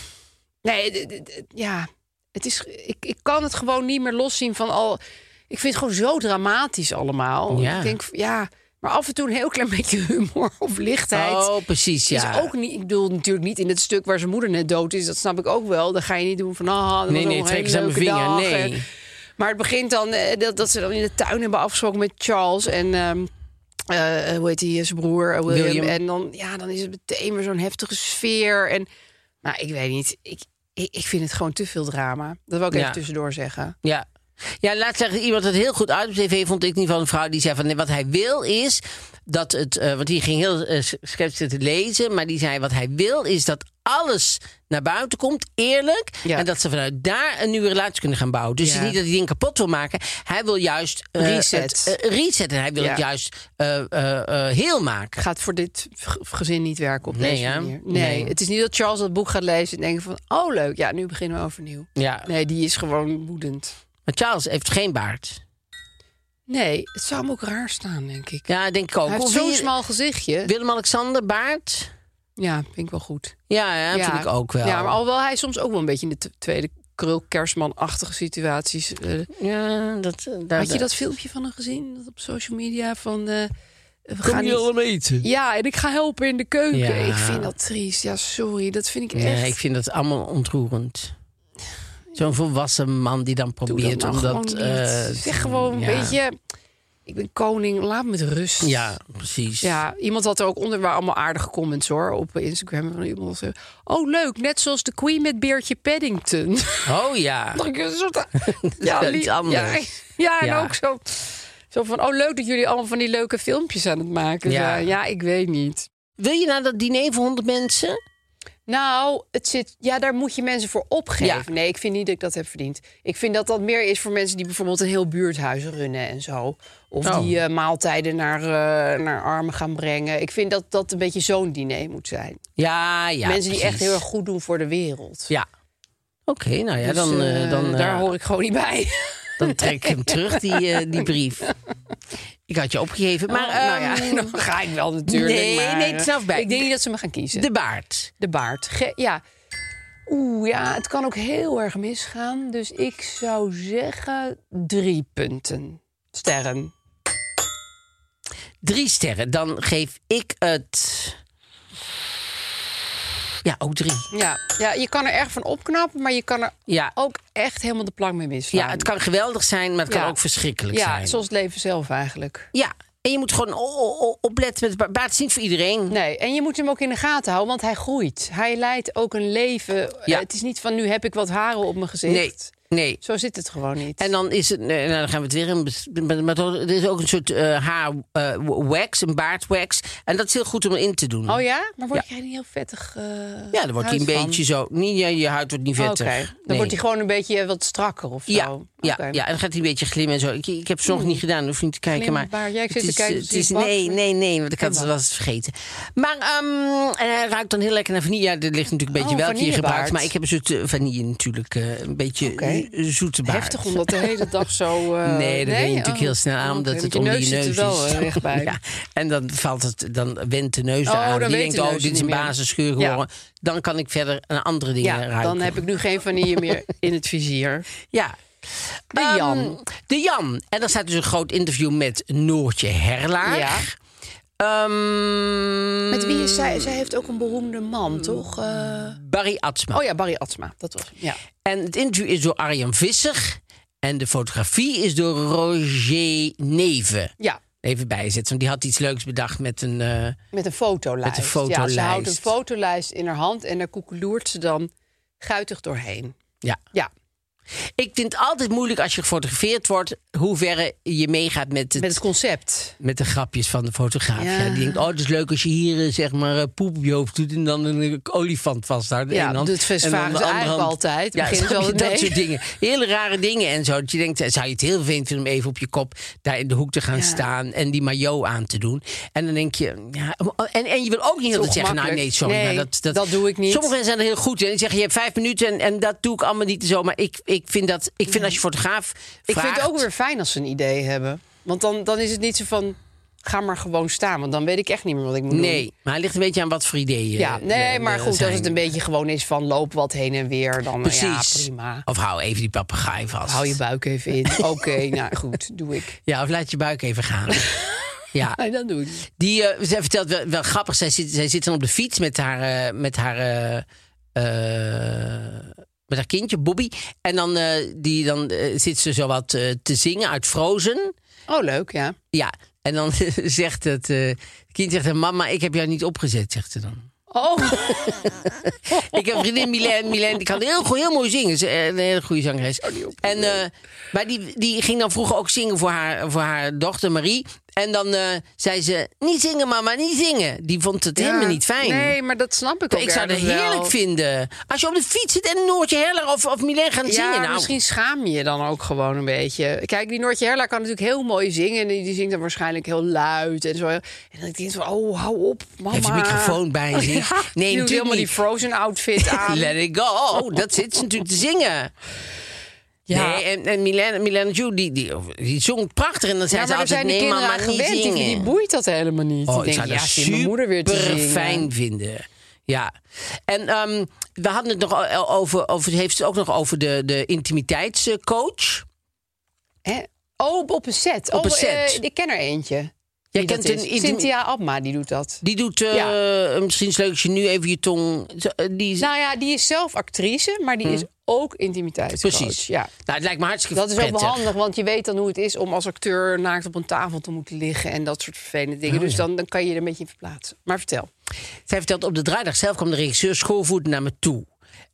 Nee, d- d- d- ja... Het is... Ik, ik kan het gewoon niet meer loszien van al... Ik vind het gewoon zo dramatisch allemaal.
Ja.
Ik denk, ja... Maar af en toe een heel klein beetje humor of lichtheid.
Oh, precies, ja.
Is ook niet, ik bedoel natuurlijk niet in het stuk waar zijn moeder net dood is. Dat snap ik ook wel. Dan ga je niet doen van... Ah, dat
Nee,
was
nee,
nog een
trek
hele
eens aan
leuke
mijn vinger,
dag.
nee.
Maar het begint dan eh, dat, dat ze dan in de tuin hebben afgesproken met Charles en... ehm, eh, hoe heet die, eh, zijn broer, eh, William.
William.
En dan, ja, dan is het meteen weer zo'n heftige sfeer. En, nou, ik weet niet. Ik, ik, ik vind het gewoon te veel drama. Dat wil ik
Ja.
even tussendoor zeggen.
Ja. Ja, laat zeggen, iemand het heel goed uit op tv vond ik in ieder geval een vrouw die zei van nee, wat hij wil is dat het, eh, want die ging heel eh, s- sceptisch zitten lezen, maar die zei wat hij wil is dat alles naar buiten komt, eerlijk,
Ja.
en dat ze vanuit daar een nieuwe relatie kunnen gaan bouwen. Dus
Ja.
het is niet dat hij dingen kapot wil maken, hij wil juist eh,
Reset.
het, eh, reset en hij wil
Ja.
het juist eh, eh, eh, heel maken.
Gaat voor dit g- gezin niet werken op
Nee,
deze
hè?
manier. Nee,
Nee.
het is niet dat Charles dat boek gaat lezen en denkt van... oh, leuk, ja, nu beginnen we overnieuw.
Ja.
Nee, die is gewoon woedend.
Maar Charles heeft geen baard.
Nee, het zou hem ook raar staan, denk ik.
Ja, denk ik ook.
Hij heeft
Of
zo'n
wie-
smal gezichtje.
Willem-Alexander baard.
Ja, vind ik wel goed.
Ja, ja, vind ik ook wel.
Ja, maar alhoewel hij soms ook wel een beetje in de t- tweede krul-kerstman-achtige situaties... eh,
Ja, dat, eh, daar-
Had je dat filmpje van hem gezien Dat op social media? Van, eh we
Kom
gaan
je
niet-
allemaal eten?
Ja, en ik ga helpen in de keuken.
Ja.
Ik vind dat triest. Ja, sorry. Dat vind ik
Nee,
echt...
ik vind dat allemaal ontroerend. Zo'n volwassen man die dan
Doe
probeert
dat
om
nou
dat...
gewoon
eh,
niet. zeg gewoon
ja.
een beetje... Ik ben koning, laat me met rust.
Ja, precies.
Ja, iemand had er ook onder, waar allemaal aardige comments hoor, op Instagram. Van iemand zei, oh leuk, net zoals de Queen met Beertje Paddington.
Oh ja.
Dacht ik, een soort-
Dat is
lie-
anders.
Ja, ja, en
Ja.
ook zo, zo van, oh leuk dat jullie allemaal van die leuke filmpjes aan het maken
Ja.
zijn. Ja, ik weet niet.
Wil je naar dat diner voor honderd mensen?
Nou, het zit, ja, daar moet je mensen voor opgeven.
Ja.
Nee, ik vind niet dat ik dat heb verdiend. Ik vind dat dat meer is voor mensen die bijvoorbeeld een heel buurthuis runnen en zo. Of
Oh.
die eh, maaltijden naar, eh, naar armen gaan brengen. Ik vind dat dat een beetje zo'n diner moet zijn.
Ja, ja.
mensen die echt
precies.
heel erg goed doen voor de wereld.
Ja. Oké, nou ja,
Dus,
dan, eh,
eh,
dan, eh,
daar hoor ik gewoon niet bij.
dan trek ik hem terug, die, eh, die brief. Ik had je opgegeven, maar...
nou ja,
ehm,
dan ga ik wel natuurlijk.
nee,
maar,
nee, het
eh,
is nou bij.
Ik denk niet dat ze me gaan kiezen.
De baard.
De baard. Ge- ja. Oeh, ja, het kan ook heel erg misgaan. Dus ik zou zeggen drie punten. Sterren.
Drie sterren. Dan geef ik het... Ja, ook drie.
Ja. ja, je kan er erg van opknappen, maar je kan er
Ja.
ook echt helemaal de plank mee misslaan.
Ja, het kan geweldig zijn, maar het kan
Ja.
ook verschrikkelijk
Ja,
zijn.
zoals het leven zelf eigenlijk.
Ja, en je moet gewoon o- o- o- opletten met de baard. is niet voor iedereen.
Nee, en je moet hem ook in de gaten houden, want hij groeit. Hij leidt ook een leven. Eh, Het is niet van nu heb ik wat haren op mijn gezicht.
Nee, nee.
Zo zit het gewoon niet.
En dan is het, nee, nou, dan gaan we het weer in. bes- met- met- Er is ook een soort eh, haar eh, wax, een baardwax. En dat is heel goed om in te doen.
Oh ja? Maar word jij niet heel vettig? eh,
Mm. Ja, dan wordt hij een
huid van?
beetje zo. Nee, ja, je huid wordt niet
Oké,
vettig.
dan
Nee.
wordt hij gewoon een beetje wat strakker of zo.
Ja, ja,
Oké. Hmm.
ja, en dan gaat hij een beetje glimmen en zo. Ik, ik heb het nog niet gedaan, hoef je niet te kijken. Maar
Glimbaar. Ja, ik
het
zit te
is,
kijken
eh,
of
Het
die
is,
bak-
nee, nee, nee, want ik had het wel eens vergeten. Maar ehm, en hij ruikt dan heel lekker naar vanille. Ja, dit ligt natuurlijk een beetje
Oh,
welke je
vanillebaard.
gebruikt. Maar ik heb een soort eh, vanille natuurlijk. eh, een beetje
Oké.
zo- zoete baard.
Heftig om dat de hele dag zo... eh,
Nee, dat ben je natuurlijk
Oh.
heel snel aan,
Oké,
omdat
want
het onder je
zit
neus
er wel
is.
eh, recht bij.
Ja, en dan valt het, dan wendt de neus
Oh,
eraan.
dan
Die
weet
denkt,
de
oh,
neus
dit
niet
is een
meer.
basisschuur
Ja.
geworden. Dan kan ik verder aan andere dingen
Ja,
ruiken.
dan heb ik nu geen vanille meer in het vizier.
Ja.
De
Ehm,
Jan.
de Jan. En daar staat dus een groot interview met Noortje Herlaar.
Ja.
Ehm,
Met wie is zij? Zij heeft ook een beroemde man, toch? Eh,
Barry Atsma.
Oh ja, Barry Atsma. Dat was hem, ja.
En het interview is door Arjan Visser. En de fotografie is door Roger Neven.
Ja,
Even bijzetten, want die had iets leuks bedacht met een... eh,
met een fotolijst.
Met een
Ja, ze houdt een
fotolijst.
fotolijst in haar hand en daar koekeloert ze dan guitig doorheen.
ja.
Ja,
Ik vind het altijd moeilijk als je gefotografeerd wordt... hoe ver je meegaat met, het,
met het concept.
met de grapjes van de fotograaf. Ja.
Ja.
die denkt, oh, het is leuk als je hier eh, zeg maar eh, poep op je hoofd doet... en dan een eh, olifant vasthoudt. in
Ja,
één hand,
dat vragen
en dan de
ze
andere
eigenlijk
hand-
altijd.
Ja,
Beginnen ze
snap je,
altijd
dat
mee.
soort dingen. Hele rare dingen en zo. Dat je denkt, eh, zou je het heel vervelend vinden om even op je kop... daar in de hoek te gaan staan en die maillot aan te doen. En dan denk je... Ja, oh, en, en je wil ook niet heel dat zeggen, nou nee,
ongemakkelijk.
sorry. maar
Nee,
dat, dat,
dat doe ik niet.
Sommige mensen zijn er heel goed in. Die zeggen, je hebt vijf minuten en, en dat doe ik allemaal niet en zo. Maar ik, ik vind dat... Ik vind als je fotograaf
Ik vind het
vraagt-
ook weer fijn als ze een idee hebben. Want dan, dan is het niet zo van, ga maar gewoon staan. Want dan weet ik echt niet meer wat ik moet doen.
Nee, maar het ligt een beetje aan wat voor ideeën.
Ja,
eh,
nee,
er
maar goed,
zijn.
als het een beetje gewoon is van loop wat heen en weer, dan eh,
Precies.
ja, prima.
Of hou even die papegaai vast.
Hou je buik even in. Oké, nou goed, doe ik.
Ja, of laat je buik even gaan. Ja.
Ga je dan doen?
Die, eh, zij vertelt wel, wel grappig. Zij zit, zij zit dan op de fiets met haar, eh, met haar, eh, eh, met haar kindje, Bobby. En dan, eh, die, dan eh, zit ze zo wat eh, te zingen uit Frozen.
Oh, leuk, ja.
Ja, en dan zegt het eh, kind, zegt, mama, ik heb jou niet opgezet, zegt ze dan.
Oh,
Ik heb een vriendin Milène. Milène die kan heel, goed, heel mooi zingen. Ze is een hele goede zangeres. En, eh, maar die, die ging dan vroeger ook zingen voor haar, voor haar dochter Marie. En dan eh, zei ze, niet zingen mama, niet zingen. Die vond het helemaal niet fijn.
Nee, maar dat snap ik ook
ik zou het
ergens wel.
heerlijk vinden. Als je op de fiets zit en Noortje Herler of, of Milène gaan
Ja,
zingen. Nou,
misschien schaam je je dan ook gewoon een beetje. Kijk, die Noortje Herla kan natuurlijk heel mooi zingen. En die die zingt dan waarschijnlijk heel luid en zo. En dan denk ik zo, oh, hou op, mama.
Heeft de microfoon bij zich? Nee,
nee, eh, die
natuurlijk
Oh, doet helemaal die
niet.
Frozen outfit aan.
Let it go. Oh, Dat zit ze natuurlijk te zingen.
Ja.
Nee, eh, en, en Milène, Milène Ju, die, die, die zong prachtig. En dan zei
ja,
ze
maar er
altijd,
zijn de
nee
kinderen
mama,
aan
niet
gewend. Die,
zingen.
die boeit dat helemaal niet.
Oh, ik
Die denken,
zou
ja,
dat
zit mijn moeder weer te
super
zingen.
fijn vinden. Ja. En ehm, we hadden het nog o- over, over heeft ze het ook nog over de, de intimiteitscoach.
Hè? Oh, op een set.
Op
oh,
een set.
eh, ik ken er eentje. Jij
kent een intim-
Cynthia Abma, die doet dat.
Die doet, eh, misschien is het leuk als je nu even je tong... zo- eh, Die,
Nou ja, die is zelf actrice, maar die is ook intimiteitscoach.
Hm. precies.
Ja.
Nou, het lijkt me hartstikke
Dat is ook wel
prettig.
handig, want je weet dan hoe het is om als acteur naakt op een tafel te moeten liggen en dat soort vervelende
Ah,
dingen. dus dan, dan kan je er een beetje in verplaatsen. Maar vertel.
Zij vertelt op de draaidag zelf kwam de regisseur schoolvoet naar me toe.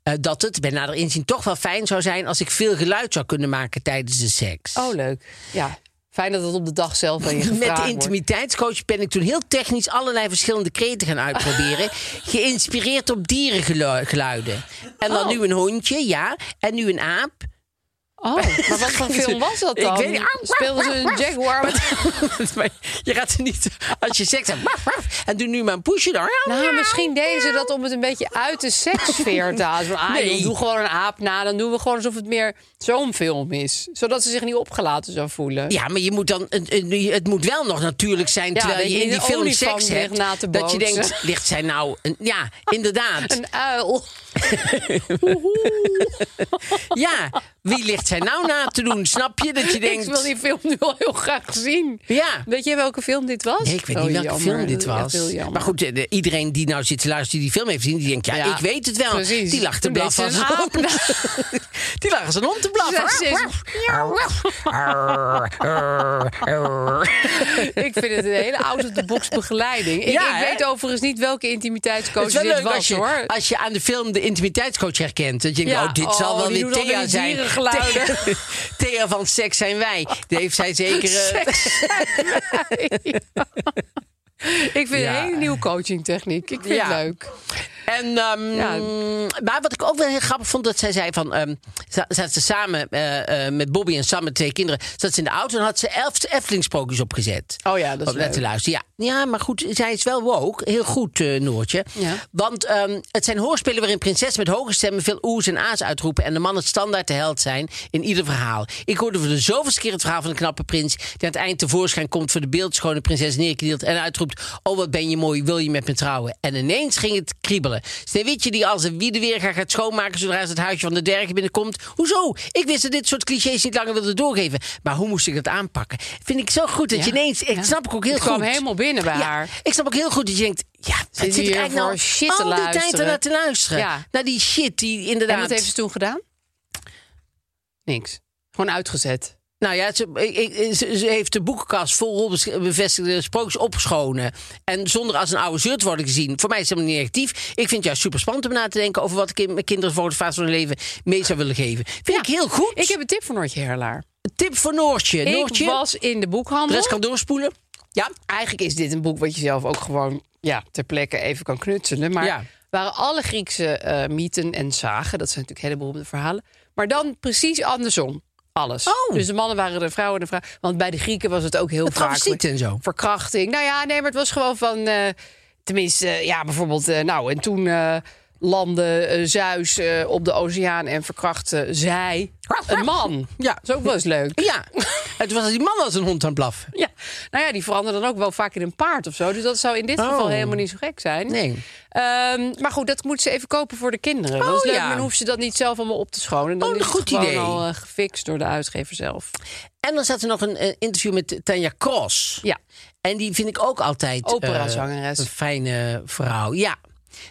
Eh, dat het bij nader inzien toch wel fijn zou zijn als ik veel geluid zou kunnen maken tijdens de seks.
Oh, leuk. Ja, fijn dat het op de dag zelf aan je
Met de
gevraagd wordt.
intimiteitscoach ben ik toen heel technisch allerlei verschillende kreten gaan uitproberen. geïnspireerd op dierengeluiden. En dan nu een hondje, ja. En nu een aap.
Oh, maar wat voor film was dat
Ik
dan?
weet niet.
Speelden ze een jaguar? met-
Maar je gaat ze niet, als je seks hebt, waf, waf, en doe nu maar een poesje dan.
Nou, misschien deden ze dat om het een beetje uit de sekssfeer te halen. Van, ah,
Nee.
joh, doe gewoon een aap na, dan doen we gewoon alsof het meer zo'n film is. Zodat ze zich niet opgelaten zou voelen.
Ja, maar je moet dan, het- het- het moet wel nog natuurlijk zijn
Ja,
terwijl
dat
je
je
in die
een
film
olifant
seks
ligt
hebt.
na te
dat je
boksen.
denkt, ligt zij nou... Een, ja, inderdaad.
Een uil.
Ja, wie ligt zij nou na te doen? Snap je dat je denkt...
Ik wil die film nu al heel graag zien.
Ja.
Weet jij welke film dit was?
Nee, ik weet
Oh,
niet welke
jammer.
film dit
Echt
was.
heel jammer.
maar goed, eh, de- iedereen die nou zit te luisteren, die die film heeft gezien, die denkt, ja,
Ja,
ik weet het wel.
precies.
Die lag te
Toen deed
blaffen.
ze
als
een
een hond. die lag als een hond te blaffen.
Ze- Ik vind het een hele out-of-the-box begeleiding. Ik,
Ja,
ik
hè?
weet overigens niet welke
Het
intimiteitscoach
is wel
dit
leuk
was,
als je,
hoor.
als je aan de film de intimiteitscoach herkent. Dat je denkt,
Ja,
oh, dit zal
oh,
wel weer
die doet alweer
Thea
die
zijn.
dierengeluiden.
Thea- Thea van Seks zijn wij. Die heeft zij zeker... eh,
Ik vind
Ja.
een hele nieuwe coachingtechniek. Ik vind
Ja.
het leuk.
En, ehm,
Ja.
Maar wat ik ook wel heel grappig vond, dat zij zei van... ehm za- zat ze samen eh, eh, met Bobby en Sam, met twee kinderen... zat ze in de auto en had ze elf Efteling-sprookjes opgezet.
Oh ja, dat is
Om naar te
leuk.
luisteren. Ja. ja, maar goed, zij is wel woke. Heel goed, eh, Noortje.
Ja.
Want ehm, het zijn hoorspelen waarin prinsessen met hoge stemmen... veel oes en a's uitroepen... en de mannen standaard de held zijn in ieder verhaal. Ik hoorde voor de zoveelste keer het verhaal van de knappe prins... die aan het eind tevoorschijn komt voor de beeldschone prinses neerknielt... en uitroept, oh wat ben je mooi, wil je met me trouwen? En ineens ging het kriebelen. Sneeuwwitje die als een wiedeweerga gaat schoonmaken... zodra ze het huisje van de dwergen binnenkomt. Hoezo? Ik wist dat dit soort clichés niet langer wilde doorgeven. Maar hoe moest ik dat aanpakken? Vind ik zo goed dat je ineens... Ik
Ja.
snap ik ook heel
Het
goed.
kwam helemaal binnen bij
Ja,
haar.
Ik snap ook heel goed dat je denkt... Ja, wat
Zit
zit,
hier
ik eigenlijk
voor
nou
shit te
al die tijd
luisteren?
ernaar te luisteren?
Ja.
Naar die shit die inderdaad...
En wat heeft ze toen gedaan? Niks. Gewoon uitgezet.
Nou ja, ze, ik- ik- ze- ze heeft de boekenkast vol bevestigde sprookjes opgeschonen. En zonder als een oude zeur te worden gezien. Voor mij is dat niet negatief. Ik vind het juist super spannend om na te denken over wat ik in mijn kinderen voor de fase van hun leven mee zou willen geven. Vind ik heel goed.
Ik heb een tip voor Noortje Herlaar.
Tip voor Noortje. Noortje,
Ik was in de
de
boekhandel.
rest kan doorspoelen. Ja,
eigenlijk is dit een boek wat je zelf ook gewoon ja, ter plekke even kan knutselen. Maar
Ja.
waren alle Griekse eh, mythen en zagen, dat zijn natuurlijk hele beroemde verhalen. Maar dan precies andersom. Alles.
Oh.
Dus de mannen waren de vrouwen en de vrouwen. Want bij de Grieken was het ook heel
Met
vaak.
travestiet en zo.
Verkrachting. Nou ja, nee, maar het was gewoon van. eh, tenminste, eh, ja, bijvoorbeeld. eh, nou, en toen. eh, landde eh, Zeus eh, op de oceaan en verkrachtte zij een man.
Ja.
Dat is ook wel eens leuk.
Ja, het was die man als een hond aan het blaffen.
Ja, nou ja, die veranderen dan ook wel vaak in een paard of zo. Dus dat zou in dit
Oh.
geval helemaal niet zo gek zijn.
Nee.
Ehm, maar goed, dat moet ze even kopen voor de kinderen. dat is
Oh,
leuk,
ja.
maar dan hoeft ze dat niet zelf allemaal op te schonen. Dan
Oh,
is
goed
het gewoon
idee.
al eh, gefixt door de uitgever zelf.
En dan zat er nog een eh, interview met Tanja Cross.
Ja.
En die vind ik ook altijd... eh,
Operazangeres.
een fijne vrouw, ja.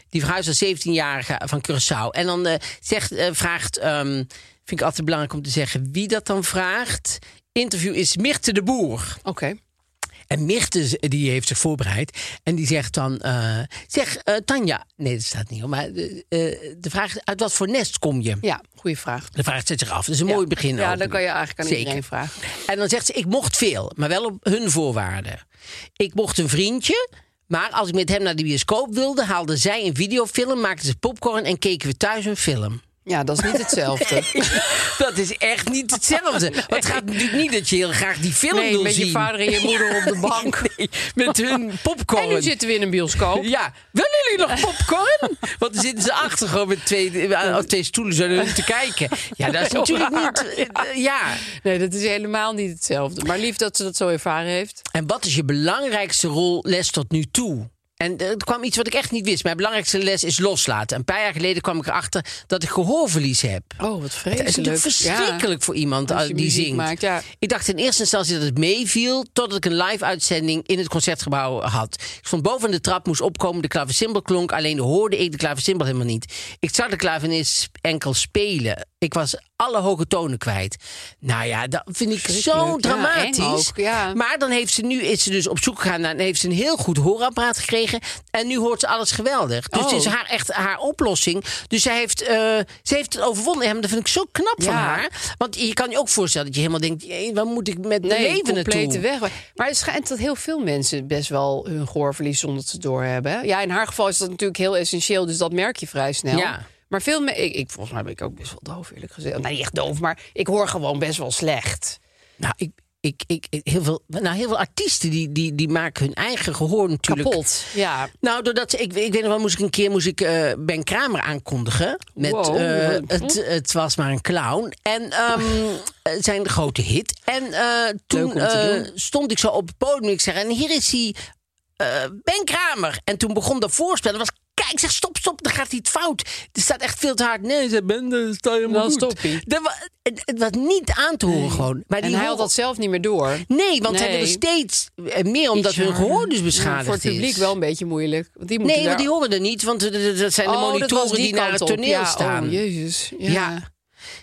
Die verhuisde als 17-jarige van Curaçao. En dan eh, zegt, eh, vraagt... ehm, vind ik altijd belangrijk om te zeggen wie dat dan vraagt. Interview is Mirte de Boer.
Oké.
En Mirte z- die heeft zich voorbereid. En die zegt dan... eh, zeg, eh, Tanja... Nee, dat staat niet op. Maar eh, eh, de vraag is, uit wat voor nest kom je?
Ja, goede vraag.
De vraag zet zich af. Dat is een mooi begin.
Ja,
ook.
dat kan je eigenlijk aan
Zeker.
iedereen vragen.
En dan zegt ze, ik mocht veel, maar wel op hun voorwaarden. Ik mocht een vriendje, maar als ik met hem naar de bioscoop wilde... haalde zij een videofilm, maakte ze popcorn en keken we thuis een film.
Ja, dat is niet hetzelfde.
Dat is echt niet hetzelfde. Want het gaat natuurlijk niet dat je heel graag die film
Nee,
wil
met
zien.
je vader en je moeder op de bank.
Nee, met hun popcorn.
En nu zitten we in een bioscoop.
Ja, willen jullie nog popcorn? Want dan zitten ze achter gewoon met twee, eh, twee stoelen zo naar hun te kijken. Ja, dat is
Heel
natuurlijk
raar,
niet... eh, ja.
Nee, dat is helemaal niet hetzelfde. Maar lief dat ze dat zo ervaren heeft.
En wat is je belangrijkste rol les tot nu toe? En eh, er kwam iets wat ik echt niet wist. Mijn belangrijkste les is loslaten. Een paar jaar geleden kwam ik erachter dat ik gehoorverlies heb.
Oh, wat
Het
vreselijk.
is natuurlijk verschrikkelijk voor iemand
Als je
eh, die
muziek
zingt.
maakt, ja.
Ik dacht in eerste instantie dat het meeviel... totdat ik een live-uitzending in het Concertgebouw had. Ik stond boven de trap, moest opkomen, de klavecimbal klonk... alleen hoorde ik de klavecimbal helemaal niet. Ik zag de klavenis enkel spelen. Ik was alle hoge tonen kwijt. Nou ja, dat vind ik zo
Verschrikkelijk. Ja, eng
dramatisch.
ook, ja.
Maar dan heeft ze nu is ze dus op zoek gegaan naar en heeft ze een heel goed hoorapparaat gekregen en nu hoort ze alles geweldig. Dus
Oh.
dit is haar echt haar oplossing. Dus zij heeft, eh, ze heeft het overwonnen. En dat vind ik zo knap van
Ja.
haar. Want je kan je ook voorstellen dat je helemaal denkt, "Jee, waar moet ik met mijn
Nee,
leven
compleet
naartoe?
de weg. Maar het schijnt dat heel veel mensen best wel hun gehoorverlies zonder te doorhebben. hè? Ja, in haar geval is dat natuurlijk heel essentieel, dus dat merk je vrij snel.
Ja.
Maar veel me ik, ik, volgens mij ben ik ook best wel doof, eerlijk gezegd. Nou, niet echt doof, maar ik hoor gewoon best wel slecht.
Nou, ik, ik, ik, ik- heel, veel, nou, heel veel artiesten die, die, die maken hun eigen gehoor natuurlijk
Kapot. Ja.
Nou, doordat ik, ik weet nog wel, moest ik een keer moest ik, eh, Ben Kramer aankondigen. Met
Wow. Hm?
eh, het, het was maar een clown. En ehm, eh, zijn grote hit. En eh, toen
om te
eh, stond ik zo op het podium. Ik zeg, en hier is hij, eh, Ben Kramer. En toen begon dat voorspel. Dat was Kijk, ik zeg stop, stop, dan gaat hij het fout. Er staat echt veel te hard. Nee, ze ben, dan sta je helemaal
Dan
goed.
stop je.
Dat wa- het, het was niet aan te horen gewoon. Maar
En
die
hij had
horen-
dat zelf niet meer door.
Nee, want hij
Nee.
wilde steeds eh, meer omdat hun
harder.
gehoor dus beschadigd
Ja, voor het publiek
is.
wel een beetje moeilijk. Want die moeten
Nee,
daar...
want die horen er niet, want d- d- dat zijn de
Oh, dat
monitoren
was
die, naar
kant
het
op.
toneel
Ja,
staan.
Oh, jezus. Ja.
Ja.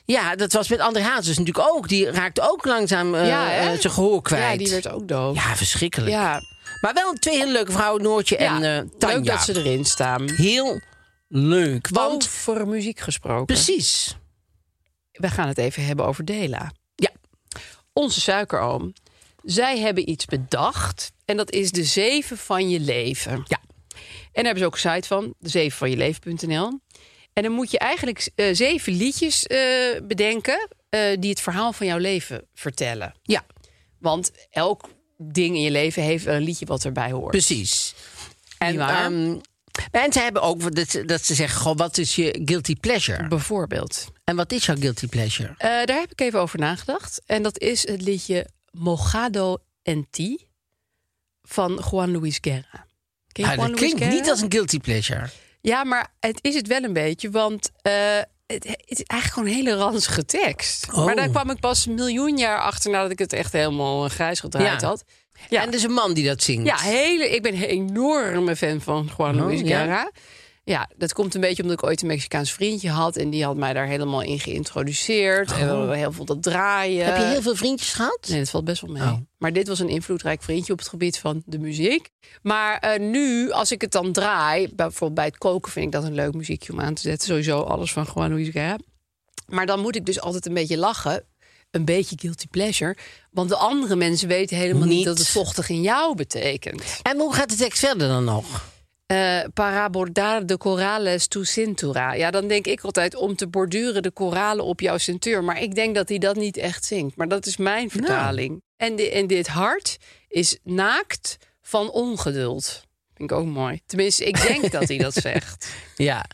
Ja, dat was met André Hazes natuurlijk ook. Die raakte ook langzaam eh,
Ja, hè?
eh, zijn gehoor kwijt.
Ja, die werd ook doof.
Ja, verschrikkelijk.
Ja.
Maar wel twee hele leuke vrouwen, Noortje en
Ja,
eh Tanja.
Leuk dat ze erin staan.
Heel leuk. Want,
Want voor muziek gesproken.
precies.
We gaan het even hebben over Dela.
Ja.
Onze suikeroom. Zij hebben iets bedacht. En dat is de zeven van je leven.
Ja.
En daar hebben ze ook een site van. De zeven van je leven.nl. En dan moet je eigenlijk eh, zeven liedjes eh, bedenken. eh, die het verhaal van jouw leven vertellen.
Ja,
Want elk ding in je leven heeft een liedje wat erbij hoort.
precies. En,
Nietwaar?
ehm, en ze hebben ook dat, dat ze zeggen: Goh, wat is je guilty pleasure?
Bijvoorbeeld.
En wat is jouw guilty pleasure?
Eh, daar heb ik even over nagedacht. En dat is het liedje Mogado en Ti van Juan Luis Guerra. Ken je
Ah,
Juan
dat
Luis
klinkt
Guerra?
niet als een guilty pleasure.
Ja, maar het is het wel een beetje, want eh, het, het is eigenlijk gewoon een hele ranzige tekst.
Oh.
Maar daar kwam ik pas een miljoen jaar achter nadat ik het echt helemaal eh, grijs gedraaid
Ja.
had. Ja.
En er is een man die dat zingt.
Ja, hele, ik ben een enorme fan van Juan
Oh,
Luis
ja?
Guerra. Ja. dat komt een beetje omdat ik ooit een Mexicaans vriendje had. En die had mij daar helemaal in geïntroduceerd. En we hadden heel veel dat draaien.
Oh. Heb je heel veel vriendjes gehad?
Nee, dat valt best wel mee.
Oh.
Maar dit was een invloedrijk vriendje op het gebied van de muziek. Maar eh, nu, als ik het dan draai, bijvoorbeeld bij het koken vind ik dat een leuk muziekje om aan te zetten. Sowieso alles van Juan Luis Guerra. Maar dan moet ik dus altijd een beetje lachen. Een beetje guilty pleasure. Want de andere mensen weten helemaal niet,
Niet.
dat het vochtig in jou betekent.
En hoe gaat de tekst verder dan nog?
Eh, para bordar de corales tu cintura. Ja, dan denk ik altijd om te borduren de koralen op jouw cintuur. Maar ik denk dat hij dat niet echt zingt. Maar dat is
Nou.
mijn vertaling. En, di- en dit hart is naakt van ongeduld. Vind ik ook mooi. Tenminste, ik denk dat hij dat zegt.
Ja.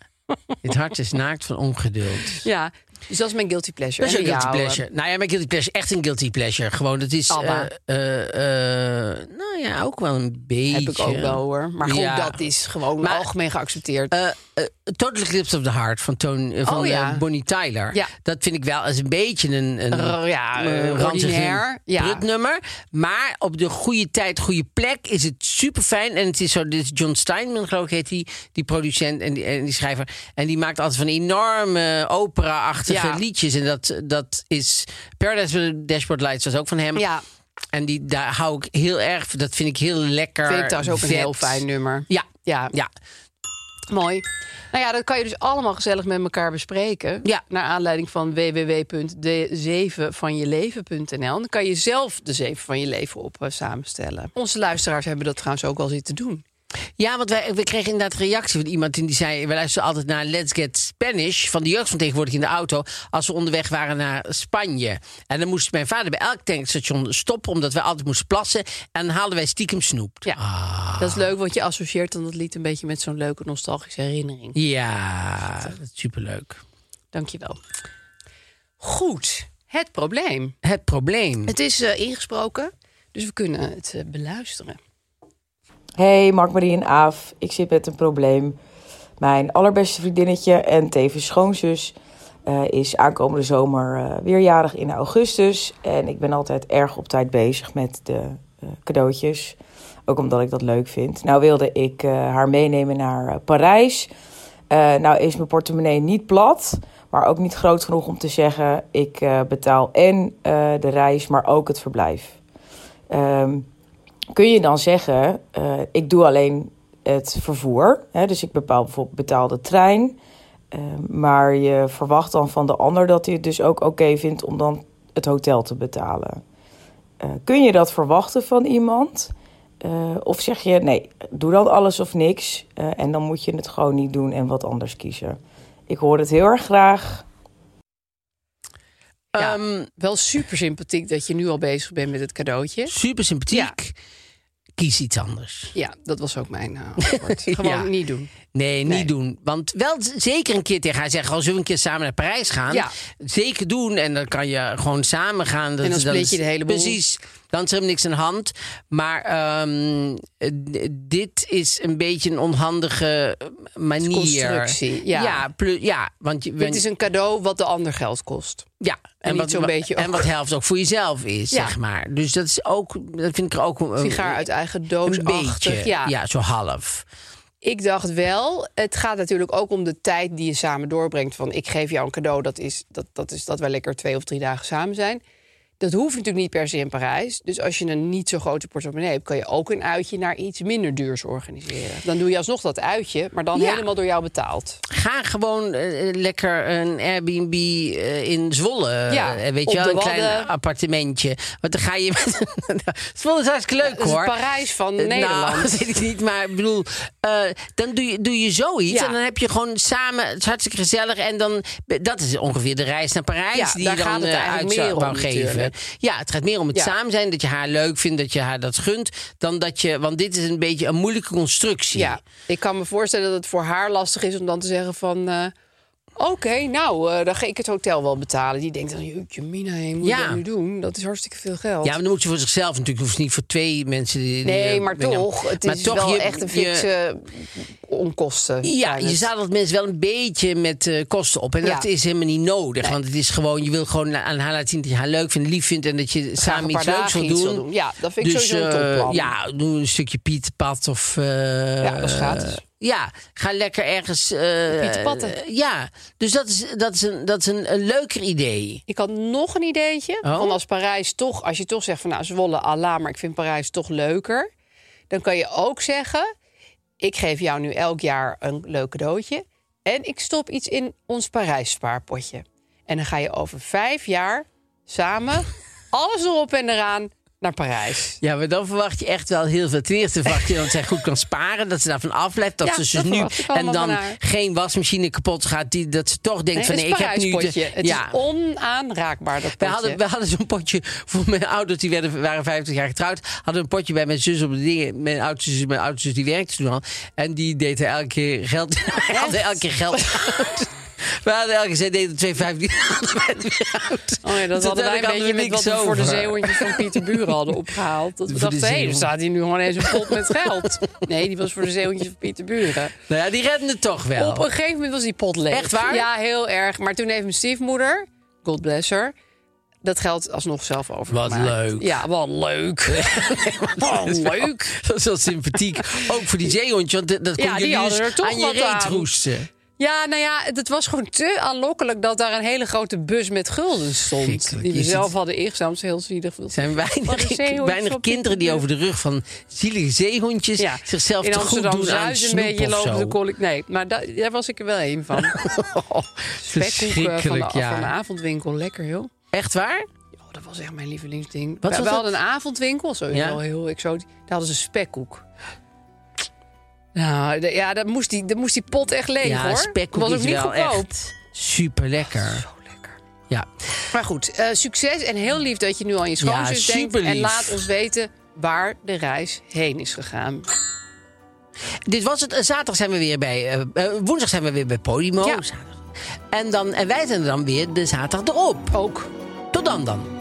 Het hart is naakt van ongeduld.
Ja, dus dat is mijn guilty pleasure.
Dat is
En
een guilty
jouwe.
pleasure. Nou ja, mijn guilty pleasure, echt een guilty pleasure. Gewoon, dat is...
Abba.
eh, eh, eh, nou ja, ook wel een beetje.
Heb ik ook wel hoor. Maar goed,
Ja.
dat is gewoon
Maar-
algemeen geaccepteerd.
Eh, eh, Total Eclipse of the Heart van, Toon, eh, van
Oh, ja.
eh, Bonnie Tyler.
Ja.
Dat vind ik wel als een beetje een, een
R- ja,
eh,
eh,
ranzig
ordinair, ja.
prutnummer. Maar op de goede tijd, goede plek is het super fijn. En het is zo, dit is John Steinman geloof ik heet die, die producent en die, en die schrijver. En die maakt altijd van die enorme opera-achtige
Ja.
liedjes. En dat, dat is Paradise with the Dashboard Lights was ook van hem.
ja,
En die, daar hou ik heel erg, dat vind ik heel lekker.
vind ik trouwens ook een
vet.
heel fijn nummer.
Ja,
Ja,
ja.
mooi. Nou ja, dat kan je dus allemaal gezellig met elkaar bespreken.
Ja.
Naar aanleiding van www.de7vanjeleven.nl. Dan kan je zelf de zeven van je leven op eh, samenstellen. Onze luisteraars hebben dat trouwens ook al zitten doen.
Ja, want wij, we kregen inderdaad reactie van iemand die zei... we luisteren altijd naar Let's Get Spanish van de jeugd van tegenwoordig in de auto... als we onderweg waren naar Spanje. En dan moest mijn vader bij elk tankstation stoppen... omdat wij altijd moesten plassen. En dan haalden wij stiekem snoep.
Ja. Dat is leuk, want je associeert dan dat lied een beetje met zo'n leuke nostalgische herinnering.
Ja, dat is superleuk.
Dankjewel. Goed, het probleem.
Het probleem.
Het is eh, ingesproken, dus we kunnen het eh, beluisteren.
Hey, Mark, Marie en Aaf. Ik zit met een probleem. Mijn allerbeste vriendinnetje en tevens schoonzus eh, is aankomende zomer eh, weerjarig in augustus. En ik ben altijd erg op tijd bezig met de eh, cadeautjes. Ook omdat ik dat leuk vind. Nou wilde ik eh, haar meenemen naar eh, Parijs. Eh, nou is mijn portemonnee niet plat, maar ook niet groot genoeg om te zeggen... ik eh, betaal en eh, de reis, maar ook het verblijf. Ehm kun je dan zeggen, eh, ik doe alleen het vervoer. Hè, dus ik bepaal bijvoorbeeld betaal de trein. eh, maar je verwacht dan van de ander dat hij het dus ook oké vindt om dan het hotel te betalen. Eh, kun je dat verwachten van iemand? Eh, of zeg je, nee, doe dan alles of niks. eh, en dan moet je het gewoon niet doen en wat anders kiezen. Ik hoor het heel erg graag.
Ja.
Ehm,
Wel super sympathiek dat je nu al bezig bent met het cadeautje.
super sympathiek. Kies iets anders.
Ja, dat was ook mijn eh, antwoord. Gewoon
Ja.
niet doen.
Nee, niet
Nee.
doen. Want wel z- zeker een keer tegen haar zeggen... als we een keer samen naar Parijs gaan...
Ja.
zeker doen en dan kan je gewoon samen gaan. Dat
En dan
is-
split je
is-
de hele boel.
Precies, dan is er helemaal niks aan de hand. Maar ehm, eh, d- dit is een beetje een onhandige eh, manier.
Constructie, ja.
Ja, plu- ja, want je,
Het is een cadeau wat de ander geld kost.
ja,
niet zo'n
wa-
beetje
en
ook.
wat helft ook voor jezelf is,
Ja.
zeg maar. Dus dat is ook, dat vind ik er ook een,
Sigaar uit eigen doos.
een beetje.
Ja.
ja, zo half.
ik dacht wel. Het gaat natuurlijk ook om de tijd die je samen doorbrengt. Van ik geef jou een cadeau. Dat is dat, dat, is dat wij lekker twee of drie dagen samen zijn. Dat hoeft natuurlijk niet per se in Parijs. Dus als je een niet zo grote portemonnee hebt, kan je ook een uitje naar iets minder duurs organiseren. Dan doe je alsnog dat uitje, maar dan
Ja.
helemaal door jou betaald.
Ga gewoon eh, eh, lekker een Airbnb eh, in Zwolle.
Ja,
Eh, weet
op
je wel,
de
een klein
Wadden.
appartementje. Want dan ga je met... Zwolle is hartstikke leuk,
Het is
hoor.
Parijs van
Eh, Nou,
Nederland.
dat weet ik niet, maar ik bedoel... eh, dan doe je, doe je zoiets
Ja.
en dan heb je gewoon samen... Het is hartstikke gezellig en dan... Dat is ongeveer de reis naar Parijs
Ja,
die
daar
je dan
gaat het
eh,
eigenlijk
uit zou-
meer om
wou geven.
natuurlijk.
Ja, het gaat meer om het
Ja.
samen zijn. Dat je haar leuk vindt, dat je haar dat gunt. Dan dat je... Want dit is een beetje een moeilijke constructie.
Ja, ik kan me voorstellen dat het voor haar lastig is om dan te zeggen van... eh, Oké, nou, eh, dan ga ik het hotel wel betalen. Die denkt dan, jeetje mina, hé, moet je
Ja.
dat nu doen? Dat is hartstikke veel geld.
Ja, maar dan moet je voor zichzelf natuurlijk. hoeft niet voor twee mensen. Die, die,
nee,
eh,
maar
ben je-
toch, het
maar
is
toch,
wel
je-
echt een
je-
fikse onkosten.
ja,
zijn
je
het.
zadelt mensen wel een beetje met eh, kosten op. En
Ja.
dat is helemaal niet nodig. Want het is gewoon, je wil gewoon aan haar laten zien dat je haar leuk vindt, lief vindt. En dat je
Graag
samen
een paar
iets leuks
dagen
wil
iets
doen.
Ja, dat vind ik
dus
sowieso een
eh,
topplan.
ja, doe een stukje Pieterpad of... eh,
Ja, dat is gratis.
Ja, ga lekker ergens... eh,
Pieterpatten.
eh, ja, dus dat is, dat is, een, dat is een, een leuker idee.
Ik had nog een ideetje.
Oh.
Van als Parijs toch, als je toch zegt van nou Zwolle, Allah, maar ik vind Parijs toch leuker. Dan kan je ook zeggen: ik geef jou nu elk jaar een leuk cadeautje. En ik stop iets in ons Parijs spaarpotje. En dan ga je over vijf jaar samen alles erop en eraan naar Parijs.
Ja, maar dan verwacht je echt wel heel veel. Ten eerste verwacht je dat zij goed kan sparen, dat ze daarvan aflet, dat
Ja,
ze ze
dat
nu
verwacht ik
en
allemaal
dan
van haar.
geen wasmachine kapot gaat, die, dat ze toch denkt van
Nee, het
nee,
is
ik heb nu de,
Parijspotje. Het
ja.
is onaanraakbaar, dat potje.
We hadden, we hadden zo'n potje voor mijn ouders, die werden, waren 50 jaar getrouwd. Hadden een potje bij mijn zus op de dingen. Mijn oudste zus, mijn oudste zus, die werkte toen al. En die deed er elke keer geld. Wij hadden elke keer geld. uit. We hadden elke keer, zij deed er 2,15 hadden wij het weer uit.
Oh ja, dat
Dus
hadden wij een
uiteindelijk
beetje met wat
hadden
we
we
voor de
niks over.
zeehondjes van Pieter Buren hadden opgehaald. Dat we
Voor de
dachten, hé, hey, er
zeehond.
staat hier nu gewoon eens een pot met geld. Nee, die was voor de zeehondjes van Pieter Buren.
Nou ja, die redden het toch wel.
Op een gegeven moment was die pot leeg.
Echt waar?
Ja, heel erg. Maar toen heeft mijn stiefmoeder, God bless her, dat geld alsnog zelf overgemaakt.
Wat leuk.
Ja, wat leuk. wat leuk.
Dat is wel sympathiek. Ook voor die zeehondje, want dat dat kon
Ja, die
jullie dus
hadden er toch
aan je
wat
reet
aan.
roesten.
Ja, nou ja, het was gewoon te aanlokkelijk dat daar een hele grote bus met gulden stond.
Schrikkelijk
Die we
is
zelf
het.
hadden ingezameld. Dat is heel zielig.
Er zijn
Wat een
weinig,
zeehondje
weinig
op die
kinderen die
deur.
over de rug van zielige zeehondjes
Ja,
Dus zichzelf
in
te goed
Amsterdam
doen aan
Zuid een
snoep
beetje
of
lopen
zo.
de collect. Nee, maar da- daar was ik er wel een van. Spekkoeken van de,
Verschrikkelijk,
van de
ja.
avondwinkel, lekker joh.
Echt waar?
Oh, dat was echt mijn lievelingsding.
Wat
we
was
we
dat?
hadden een avondwinkel, sowieso
Ja.
heel exotisch. Daar hadden ze spekkoek. Nou, de- ja, dat moest, die, dat moest die pot echt leeg,
ja,
hoor.
spekkoek
was ook
is
niet
wel
goedkoop.
echt super lekker.
Zo lekker.
Ja.
Maar goed, eh, succes en heel lief dat je nu aan je schoonzus
Ja,
denkt.
superlief.
En laat ons weten waar de reis heen is gegaan.
Dit was het. Eh, Zaterdag zijn we weer bij... eh, eh, woensdag zijn we weer bij Podimo.
Ja.
Zaterdag. En, dan, en wij zijn er dan weer de zaterdag erop.
Ook.
Tot dan dan.